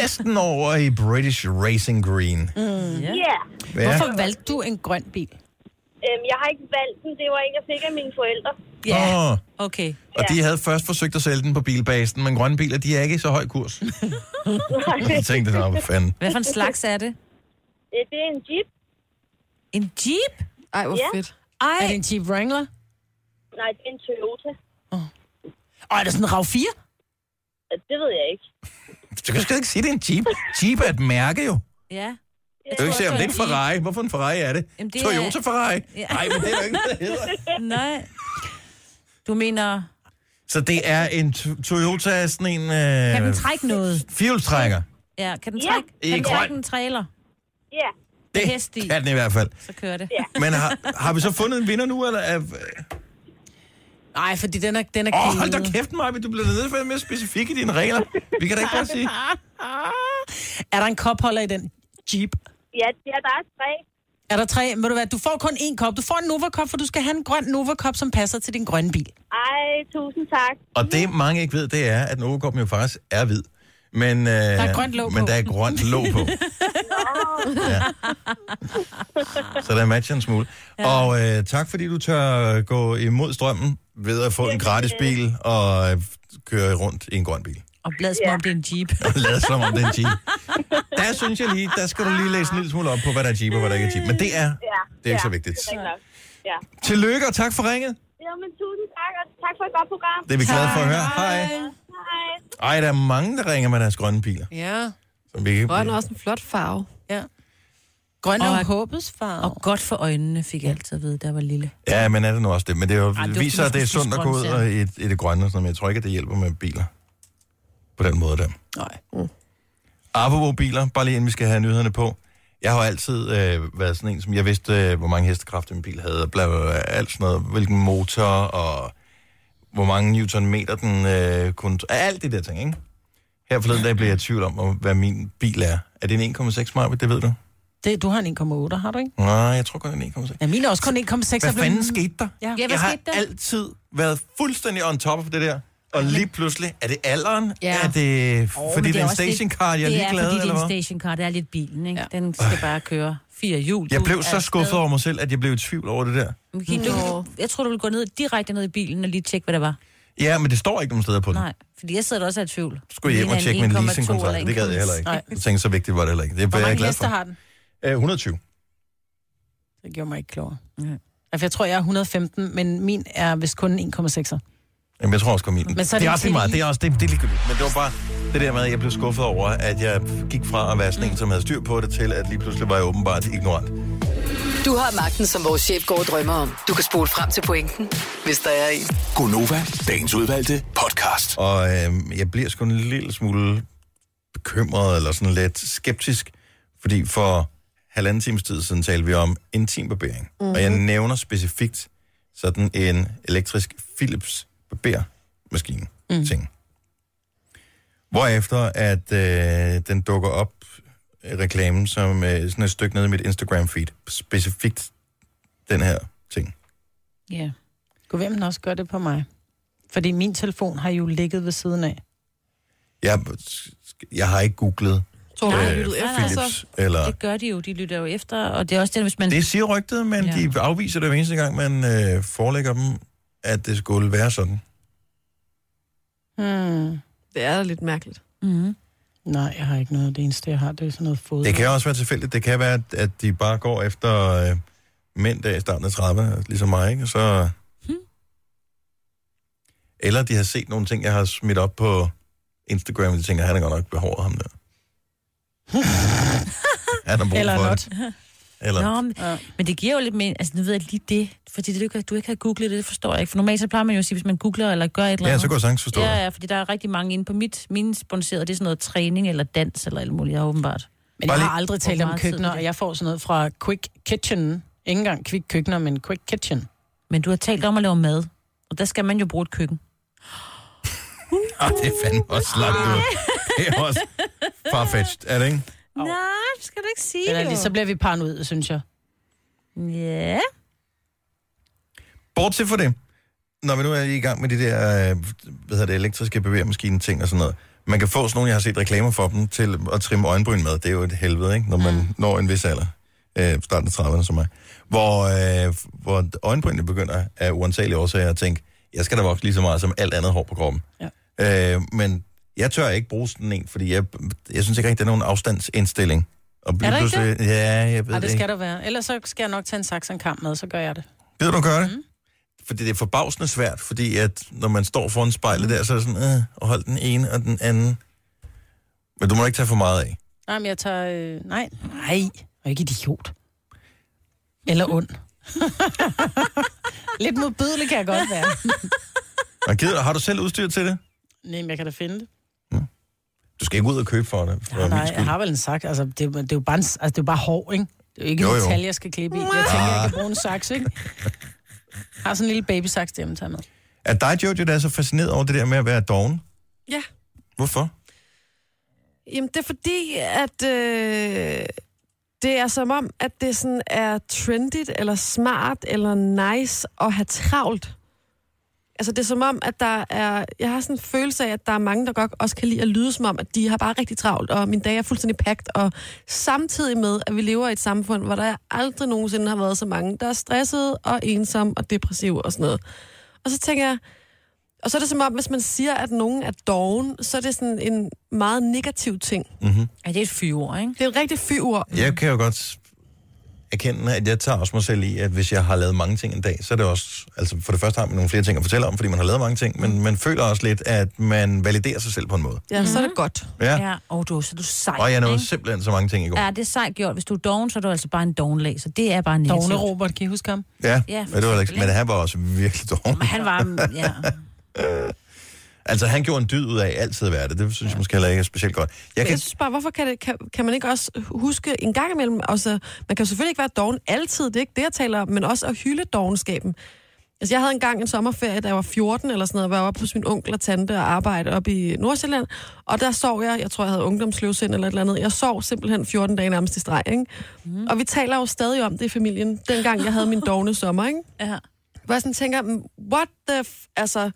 næsten over i British Racing Green. Mm. Ja. Yeah. Ja. Hvorfor valgte du en grøn bil? Øhm, jeg har ikke valgt den. Det var en, jeg fik af mine forældre. Åh. Okay. Og de havde først forsøgt at sælge den på bilbasen, men grønne biler, de er ikke i så høj kurs. Jeg tænkte, nå, hvad fanden. Hvad for en slags er det? Øh, Det er en Jeep. En Jeep? Ej, hvor Ja. fedt. Ej. Er det en Jeep Wrangler? Nej, det er en Toyota. Og er det sådan en RAV 4? Øh, Det ved jeg ikke. Du kan sgu ikke sige, det er en Jeep. Jeep er et mærke jo. Ja. Du kan ikke Øh, se, om det er en Ferrari. Hvorfor en Ferrari er det? Jamen, det er- Toyota Ferrari. Nej, men det er jo ikke, hvad det hedder. Nej. Du mener, Så det er en to- Toyota, sådan en... Øh, kan den trække noget? Firehjulstrækker. Ja, kan den Ja. trække? I Kan den grøn. trække en trailer? Ja. Det er hest i. Kan den i hvert fald. Så kører det. Men har, har vi så fundet en vinder nu, eller er, Nej, fordi den er, den er Åh, oh, hold da kæft, Maja, du bliver nødt til at være mere specifik i dine regler. Vi kan da ikke bare sige... Er der en kopholder i den Jeep? Ja, ja, der er tre. Er der tre? Ved du hvad, du får kun én kop. Du får en Nova-kop, for du skal have en grøn Nova-kop, som passer til din grønne bil. Ej, tusind tak. Og det, mange ikke ved, det er, at Novokoppen jo faktisk er hvid. Men, øh, der er grønt låg Men på. der er grønt låg på, ja. så der matcher en smule. Ja. Og øh, tak, fordi du tør gå imod strømmen ved at få en gratis bil og øh, køre rundt i en grøn bil. Og blad som om det er en Jeep. Og lad som om det er en Jeep. Der synes jeg lige, der skal du lige læse en lille smule op på, hvad der er Jeep og hvad der ikke er Jeep. Men det er, det er ikke så vigtigt. Det er rigtigt nok. Ja. Tillykke og tak for ringet. Jamen, tusind tak, og tak for et godt program. Det er vi glade for at høre. Hej. Hej. Ej, der er mange, der ringer med deres grønne biler. Ja. Som vi kan... Grøn er også en flot farve. Ja. Grøn er jo håbets farve. Og godt for øjnene, fik jeg altid at vide, da jeg var lille. Ja, men er det nu også det? Men det, er jo, Ej, det det var viser, at fordi, det er man skulle sundt at gå spise ud grøntsager. og i, i det grønne, og sådan, noget, men jeg tror ikke, at det hjælper med biler. På den måde der. Nej. Apropos biler, bare lige inden vi skal have nyhederne på. Jeg har jo altid øh, været sådan en, som jeg vidste, øh, hvor mange hestekræfter min bil havde, og bla, bla, bla, alt sådan noget, hvilken motor, og hvor mange newtonmeter den øh, kunne... Alt det der ting, ikke? Her forleden dag blev jeg i tvivl om, hvor- hvad min bil er. Er det en 1,6 Marvitt, det ved du? Det, du har en 1,8, har du ikke? Nej, jeg tror kun, det er en 1,6. Ja, min er også kun 1,6. Hvad og blev- fanden skete der? Ja, jeg har altid været fuldstændig on top af det der. Og lige pludselig, er det alderen? Ja. Er det, Åh, fordi men det er en også lidt- stationcar, jeg er Det er, ligeglad, fordi det eller er en hvad? stationcar, det er lidt bilen, ikke? Ja. Den skal bare køre fire hjul. Jeg Du blev så er skuffet afsted. over mig selv, at jeg blev i tvivl over det der. Okay, du, jeg tror, du ville gå ned, direkte ned i bilen og lige tjekke, hvad der var. Ja, men det står ikke nogen steder på den. Nej, fordi jeg sidder også i tvivl. Så skulle jeg hjem og tjekke min leasingkontrakt. Det gad jeg heller ikke. Nej. Jeg tænkte, så vigtigt var det heller ikke. Det er Hvor jeg mange glad heste for. har den? Øh, 120. Det gjorde mig ikke klogere. Altså, jeg tror, jeg er 115, men min er vist kun 1,6'er. Jamen, jeg tror også, kom i den. Men så er det det er en også lige til- meget. Det er også det, det er ligegyldigt. Men det var bare det der med, at jeg blev skuffet over, at jeg gik fra at være Mm. sådan en, som havde styr på det, til at lige pludselig var jeg åbenbart ignorant. Du har magten, som vores chef går og drømmer om. Du kan spole frem til pointen, hvis der er en. Gonova, dagens udvalgte podcast. Og øh, jeg bliver sgu en lille smule bekymret, eller sådan lidt skeptisk, fordi for halvanden times tid siden talte vi om intimbarbering. Mm-hmm. Og jeg nævner specifikt sådan en elektrisk Philips barbermaskine mm. ting. Hvorefter at øh, den dukker op øh, reklamen som øh, sådan et stykke nede i mit Instagram feed. Specifikt den her ting. Ja. Gå hvem den også gør det på mig. Fordi min telefon har jo ligget ved siden af. Jeg, jeg har ikke googlet øh, Tror du, du lyttede efter, Philips. så? Eller... Det gør de jo, de lytter jo efter, og det er også det, hvis man... Det siger rygtet, men ja. Ja. de afviser det hver eneste gang, man øh, forelægger dem, at det skulle være sådan. Hmm. Det er da lidt mærkeligt. Mm. Nej, jeg har ikke noget. Det eneste, jeg har, det er sådan noget fod. Det kan også være tilfældigt. Det kan være, at- at de bare går efter øh, mænd der i starten af 30'erne, ligesom mig, ikke? Og Så... Hmm. Eller de har set nogle ting, jeg har smidt op på Instagram, og de tænker, han er godt nok behåret ham der. han har brug Eller for not. det. Eller Nå, men, ja. men det giver jo lidt mere... Altså, nu ved jeg lige det, fordi det, du ikke- du ikke har googlet det, det forstår jeg ikke. For normalt så plejer man jo at sige, hvis man googler eller gør et eller Ja, andet... så kan jeg sagtens forstå Ja, det. ja, fordi der er rigtig mange inde på mit, mine sponsorerede, det er sådan noget træning eller dans eller alt muligt, ja, åbenbart. Men jeg har aldrig talt om køkkener, og jeg får sådan noget fra Quick Kitchen. Ikke engang Quick Køkkener, men Quick Kitchen. Men du har talt om at lave mad, og der skal man jo bruge et køkken. Ah, det er fandme også langt ud. Det er også farfetched, er det ikke? Oh. Nej, det skal du ikke sige Eller ligesom- jo. lige, så bliver vi paranoid, synes jeg. Ja. bortset fra det, når vi nu er i gang med de der øh, hvad hedder det, elektriske bevægemaskine ting og sådan noget, man kan få sådan nogle, jeg har set reklamer for dem, til at trimme øjenbryn med. Det er jo et helvede, ikke? Når man mm. når en vis alder. Øh, starten af 30'erne som mig. Hvor, øh, hvor øjenbrynene begynder af uansagelige årsager at tænke, jeg skal da vokse lige så meget som alt andet hår på kroppen. Ja. Øh, men jeg tør ikke bruge sådan en, fordi jeg, jeg synes ikke rigtig, der er nogen afstandsindstilling. Og Er der ikke det? Ja, jeg ved Ej, det ikke. skal der være. Ellers så skal jeg nok tage en saks og en kamp med, så gør jeg det. Gider du gøre det? Mm. Fordi det er forbavsende svært, fordi at når man står foran spejlet der, så er det sådan, øh, og hold den ene og den anden. Men du må ikke tage for meget af. Nej, men jeg tager... Øh, nej, nej. Og ikke idiot. Eller ond. Lidt modbydelig kan jeg godt være. Og gider, har du selv udstyr til det? Nej, men jeg kan da finde det. Du skal ikke ud og købe for det. For Ah, Nej, min nej, skyld. jeg har vel en saks. Altså, det, er jo- det er jo bare, en, s- altså, det er jo bare hår, ikke? Det er jo ikke Jo, jo, jo. metal, jeg skal klippe i. Jeg tænker, jeg kan bruge en saks, ikke? Jeg har sådan en lille babysaks derhjemme, tager med. Er dig, Jojo, der er så fascineret over det der med at være doven? Ja. Hvorfor? Mm. Jamen, det er fordi, at øh, det er som om, at det sådan er trendigt, eller smart, eller nice at have travlt. Altså, det er som om, at der er... Jeg har sådan en følelse af, at der er mange, der godt også kan lide at lyde som om, at de har bare rigtig travlt, og min dag er fuldstændig pakket, og samtidig med, at vi lever i et samfund, hvor der aldrig nogensinde har været så mange, der er stressede og ensomme og depressive og sådan noget. Og så tænker jeg, og så er det som om, hvis man siger, at nogen er doven, så er det sådan en meget negativ ting. Mm-hmm. Ja, det er et fyord, ikke? Det er et rigtigt fyord. Jeg kan jo godt erkende, at jeg tager også mig selv i, at hvis jeg har lavet mange ting en dag, så er det også, altså for det første har man nogle flere ting at fortælle om, fordi man har lavet mange ting, Mm. men man føler også lidt, at man validerer sig selv på en måde. Ja, så er det godt. Ja. ja. Og du, er- så er du sej, Og jeg nåede ikke? simpelthen så mange ting i går. Ja, det er sejt gjort. Hvis du er doven, så er du altså bare en dovenlæg, så det er bare negativt. Dovne Robert, kan I huske ham? Ja, Ja, ja men, det var, ikke- for men han var også virkelig dårlig. Han var, ja. Altså, han gjorde en dyd ud af altid at være det. Det synes jeg måske heller ikke er specielt godt. Jeg Jeg, kan, jeg synes bare, hvorfor kan, det, kan, kan man ikke også huske en gang imellem, altså, man kan jo selvfølgelig ikke være doven altid, det er ikke det, jeg taler om, men også at hylde dovenskaben. Altså, jeg havde engang en sommerferie, da jeg var 14 eller sådan noget, hvor jeg var oppe hos min onkel og tante og arbejde op i Nordsjælland, og der sov jeg, jeg tror, jeg havde ungdomsløvsind eller et eller andet, jeg sov simpelthen 14 dage nærmest i streg, ikke? Mm. Og vi taler jo stadig om det i familien, dengang jeg havde min dogne sommer, ikke? Ja. Hvor jeg sådan tænker, "Mm, what the... F-? Altså,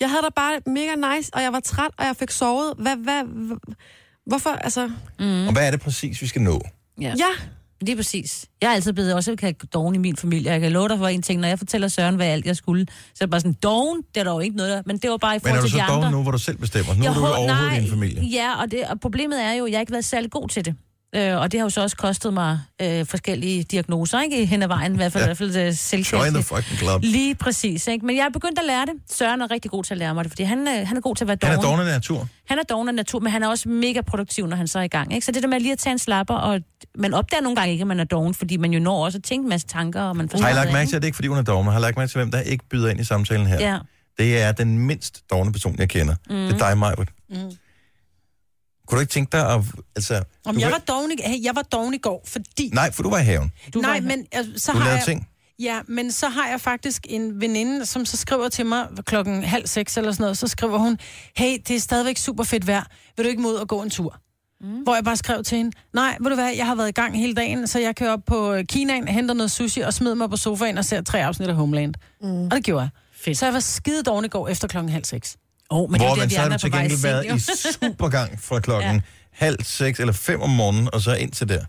jeg havde da bare mega nice, og jeg var træt, og jeg fik sovet. Hvad, hvad, hv- hvorfor, altså... mm. Og hvad er det præcis, vi skal nå? Ja. ja. Det er præcis. Jeg er altid blevet også kaldt doven i min familie. og Jeg kan love dig for en ting. Når jeg fortæller Søren, hvad alt jeg skulle, så er det bare sådan, doven, det er der jo ikke noget der. Men det var bare i Men er forhold du til de så andre. dog nu, hvor du selv bestemmer? Nu er du jo hå- overhovedet i nej, din familie. Ja, og, det, og problemet er jo, at jeg har ikke været særlig god til det. Øh, og det har jo så også kostet mig øh, forskellige diagnoser, ikke? Hen ad vejen, i hvert fald, ja. i hvert fald øh, Join the selvkærlighed. fucking club. Lige præcis, ikke? Men jeg er begyndt at lære det. Søren er rigtig god til at lære mig det, fordi han, øh, han er god til at være doven. Han er dårlig af natur. Han er doven af natur, men han er også mega produktiv, når han så er i gang. Ikke? Så det der med lige at tage en slapper, og man opdager nogle gange ikke, at man er doven, fordi man jo når også at tænke en masse tanker, og man forstår Har I lagt noget, mærke ikke? til, at det er ikke fordi, hun er dogme? Har I lagt mærke til, hvem der ikke byder ind i samtalen her? Ja. Det er den mindst dogne person, jeg kender. Mm. Mm. Det er dig, Majbert. Mm. Kunne du ikke tænke dig at... Altså, Om du jeg kan- var doven i, hey, jeg var doven i går, fordi... Nej, for du var i haven. Du Nej, men altså, så Du har lavede jeg, ting. Ja, men så har jeg faktisk en veninde, som så skriver til mig klokken halv seks eller sådan noget, så skriver hun, hey, det er stadigvæk super fedt vejr, vil du ikke mod at gå en tur? Mm. Hvor jeg bare skrev til hende, nej, ved du hvad, jeg har været i gang hele dagen, så jeg kører op på øh, Kinaen, henter noget sushi og smider mig på sofaen og ser tre afsnit af Homeland. Mm. Og det gjorde jeg. Fedt. Så jeg var skide doven i går efter klokken halv seks. Oh, Hvor man så har du til gengæld været i supergang fra klokken ja. halv seks eller fem om morgenen, og så ind til der.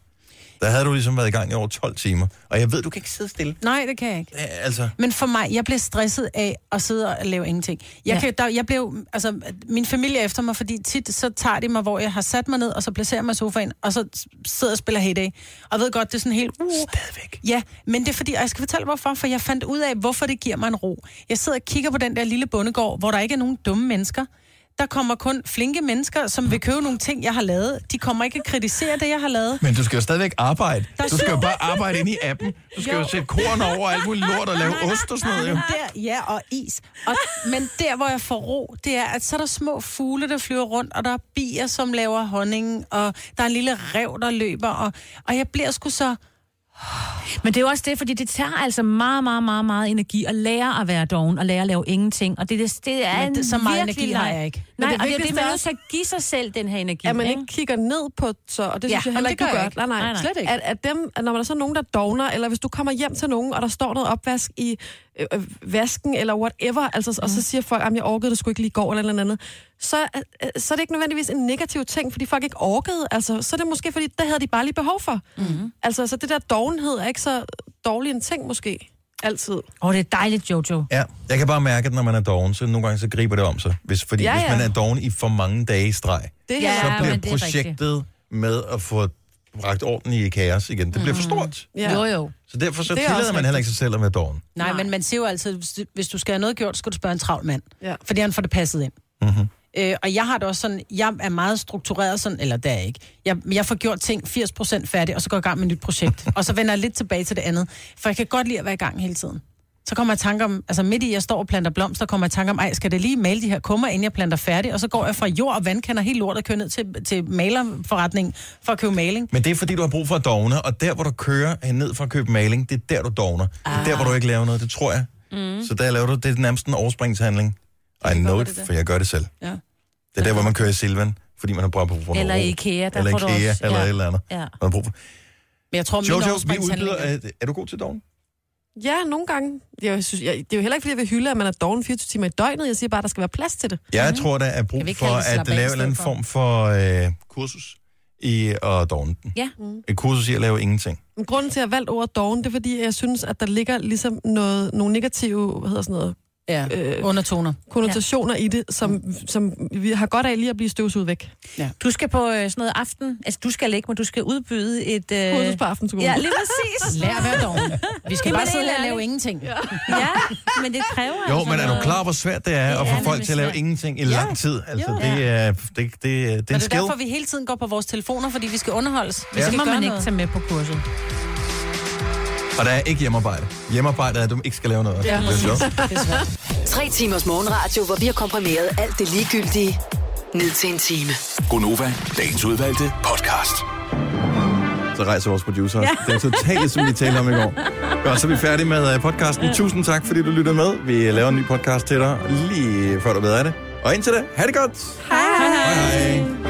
Der havde du ligesom været i gang i over 12 timer. Og jeg ved, du kan ikke sidde stille. Nej, det kan jeg ikke. Øh, Altså, Men for mig, jeg blev stresset af at sidde og lave ingenting. Jeg, Ja. ja. kan, der, jeg blev, altså, min familie er efter mig, fordi tit så tager de mig, hvor jeg har sat mig ned, og så placerer mig i sofaen, og så s- sidder og spiller Hay Og jeg ved godt, det er sådan helt... Uh, Stadigvæk. Ja, men det er fordi, og jeg skal fortælle hvorfor, for jeg fandt ud af, hvorfor det giver mig en ro. Jeg sidder og kigger på den der lille bondegård, hvor der ikke er nogen dumme mennesker. Der kommer kun flinke mennesker, som vil købe nogle ting, jeg har lavet. De kommer ikke at kritisere det, jeg har lavet. Men du skal jo stadigvæk arbejde. Der Du skal jo syv- bare arbejde ind i appen. Du skal jo, Jo. sætte korn over og alt muligt lort og lave ost og sådan noget. Jo. Men Der, ja, og is. Og, men der, hvor jeg får ro, det er, at så er der små fugle, der flyver rundt, og der er bier, som laver honning, og der er en lille rev, der løber, og, og jeg bliver sgu så... Men det er jo også det, fordi det tager altså meget, meget, meget, meget energi at lære at være doven, og lære at lave ingenting. Og det, det, det er Men det- en så meget virkelig energi leg. har jeg ikke. Men Nej, det det og det er det, vigtigste man er også skal give sig selv den her energi. At man ikke kigger ned på så, og det synes Ja, jeg heller men ikke, det du gør gør. jeg ikke. Nej, nej, Nej, nej. Slet ikke. At, at, dem, at når der så er nogen, der dogner, eller hvis du kommer hjem til nogen, og der står noget opvask i øh, vasken eller whatever, altså, Mhm. og så siger folk, at jeg orkede det sgu ikke lige i går eller noget andet, så, øh, så er det ikke nødvendigvis en negativ ting, fordi folk ikke orkede. Altså, så er det måske, fordi det havde de bare lige behov for. Mhm. Mm-hmm. Altså, så det der dovenhed er ikke så dårlig en ting måske. Altid. Åh, oh, det er dejligt, Jojo. Ja, jeg kan bare mærke, at når man er doven, så nogle gange så griber det om sig. Hvis, fordi Ja, ja, ja. ja. hvis man er doven i for mange dage i streg, Det er så helt klart. bliver Men det er projektet med at få bragt orden i kaos igen, det bliver for Mhm. stort. Ja. Jo, jo. Så derfor så Det er også tillader man heller rigtigt. ikke sig selv at være doven. Nej, men man siger jo altid, hvis du- hvis du skal have noget gjort, skal du spørge en travl mand. Ja. Fordi han får det passet ind. Mm-hmm. Øh, og jeg har det også sådan, jeg er meget struktureret sådan, eller det er jeg ikke. Jeg, jeg får gjort ting 80% færdig, og så går jeg i gang med et nyt projekt. og så vender jeg lidt tilbage til det andet. For jeg kan godt lide at være i gang hele tiden. Så kommer jeg i tanke om, altså midt i, jeg står og planter blomster, kommer jeg i tanke om, ej, skal det lige male de her kummer, inden jeg planter færdig? Og så går jeg fra jord og vandkander helt lort og kører ned til, til malerforretningen for at købe maling. Men det er fordi, du har brug for at dogne, og der, hvor du kører hen ned for at købe maling, det er der, du dogner. Ah. Det er der, hvor du ikke laver noget, det tror jeg. Mm. Så der laver du, det er nærmest en overspringshandling. I know it, det der. for jeg gør det selv. Ja. Det er der, hvor man kører i Silvan, fordi man har brug for at få noget Eller ro. i IKEA, der eller får du IKEA, også- eller ja. et eller andet. Ja. Man har brug for. Men jeg tror, min Jojo, vi overspringshandling udbyder, Øh, er- er, er du god til dogen? Ja, nogle gange. Jeg synes, jeg, det er jo heller ikke, fordi jeg vil hylde, at man er doven 24 timer i døgnet. Jeg siger bare, at der skal være plads til det. Jeg tror, der er Kan vi brug ikke for kalde det at slap af lave i en eller anden stedet form for øh, kursus i at dogne den. Ja. Et kursus i at lave ingenting. Men Grunden til, at jeg har valgt ordet doven, det er, fordi jeg synes, at der ligger ligesom noget, nogle negative, hvad hedder sådan noget, Ja, øh, undertoner. konnotationer ja. i det, Mm. som, som vi har godt af lige at blive støvsuget væk. Ja. Du skal på øh, sådan noget aften, altså du skal ikke, men du skal udbyde et... Øh... Kursus på aftenskolen. Ja, lige præcis. Lær at være doven. Vi skal Jamen, bare sidde helt her og lave ærligt. ingenting. Ja. Ja, men det kræver Jo, altså men er du noget. klar, over, hvor svært det er at få er folk nemlig til at lave svært. ingenting i Ja. lang tid? Altså, Jo. det er, det, det, det er Men en det er skill. derfor, vi hele tiden går på vores telefoner, fordi vi skal underholdes. Vi Ja. skal Det må gøre man ikke noget. tage med på kurset. Og der er ikke hjemmearbejde. Hjemmearbejde er, at du ikke skal lave noget. Ja, det er sjovt. Tre timers morgenradio, hvor vi har komprimeret alt det ligegyldige ned til en time. Gonova, dagens udvalgte podcast. Så rejser vores producer. Ja. Det er totalt, som vi talte om i går. Godt, så er vi færdige med øh, podcasten. Tusind tak, fordi du lyttede med. Vi øh, laver en ny podcast til dig lige før du ved af det. Og indtil da, ha' det godt! Hej hej! hej, hej.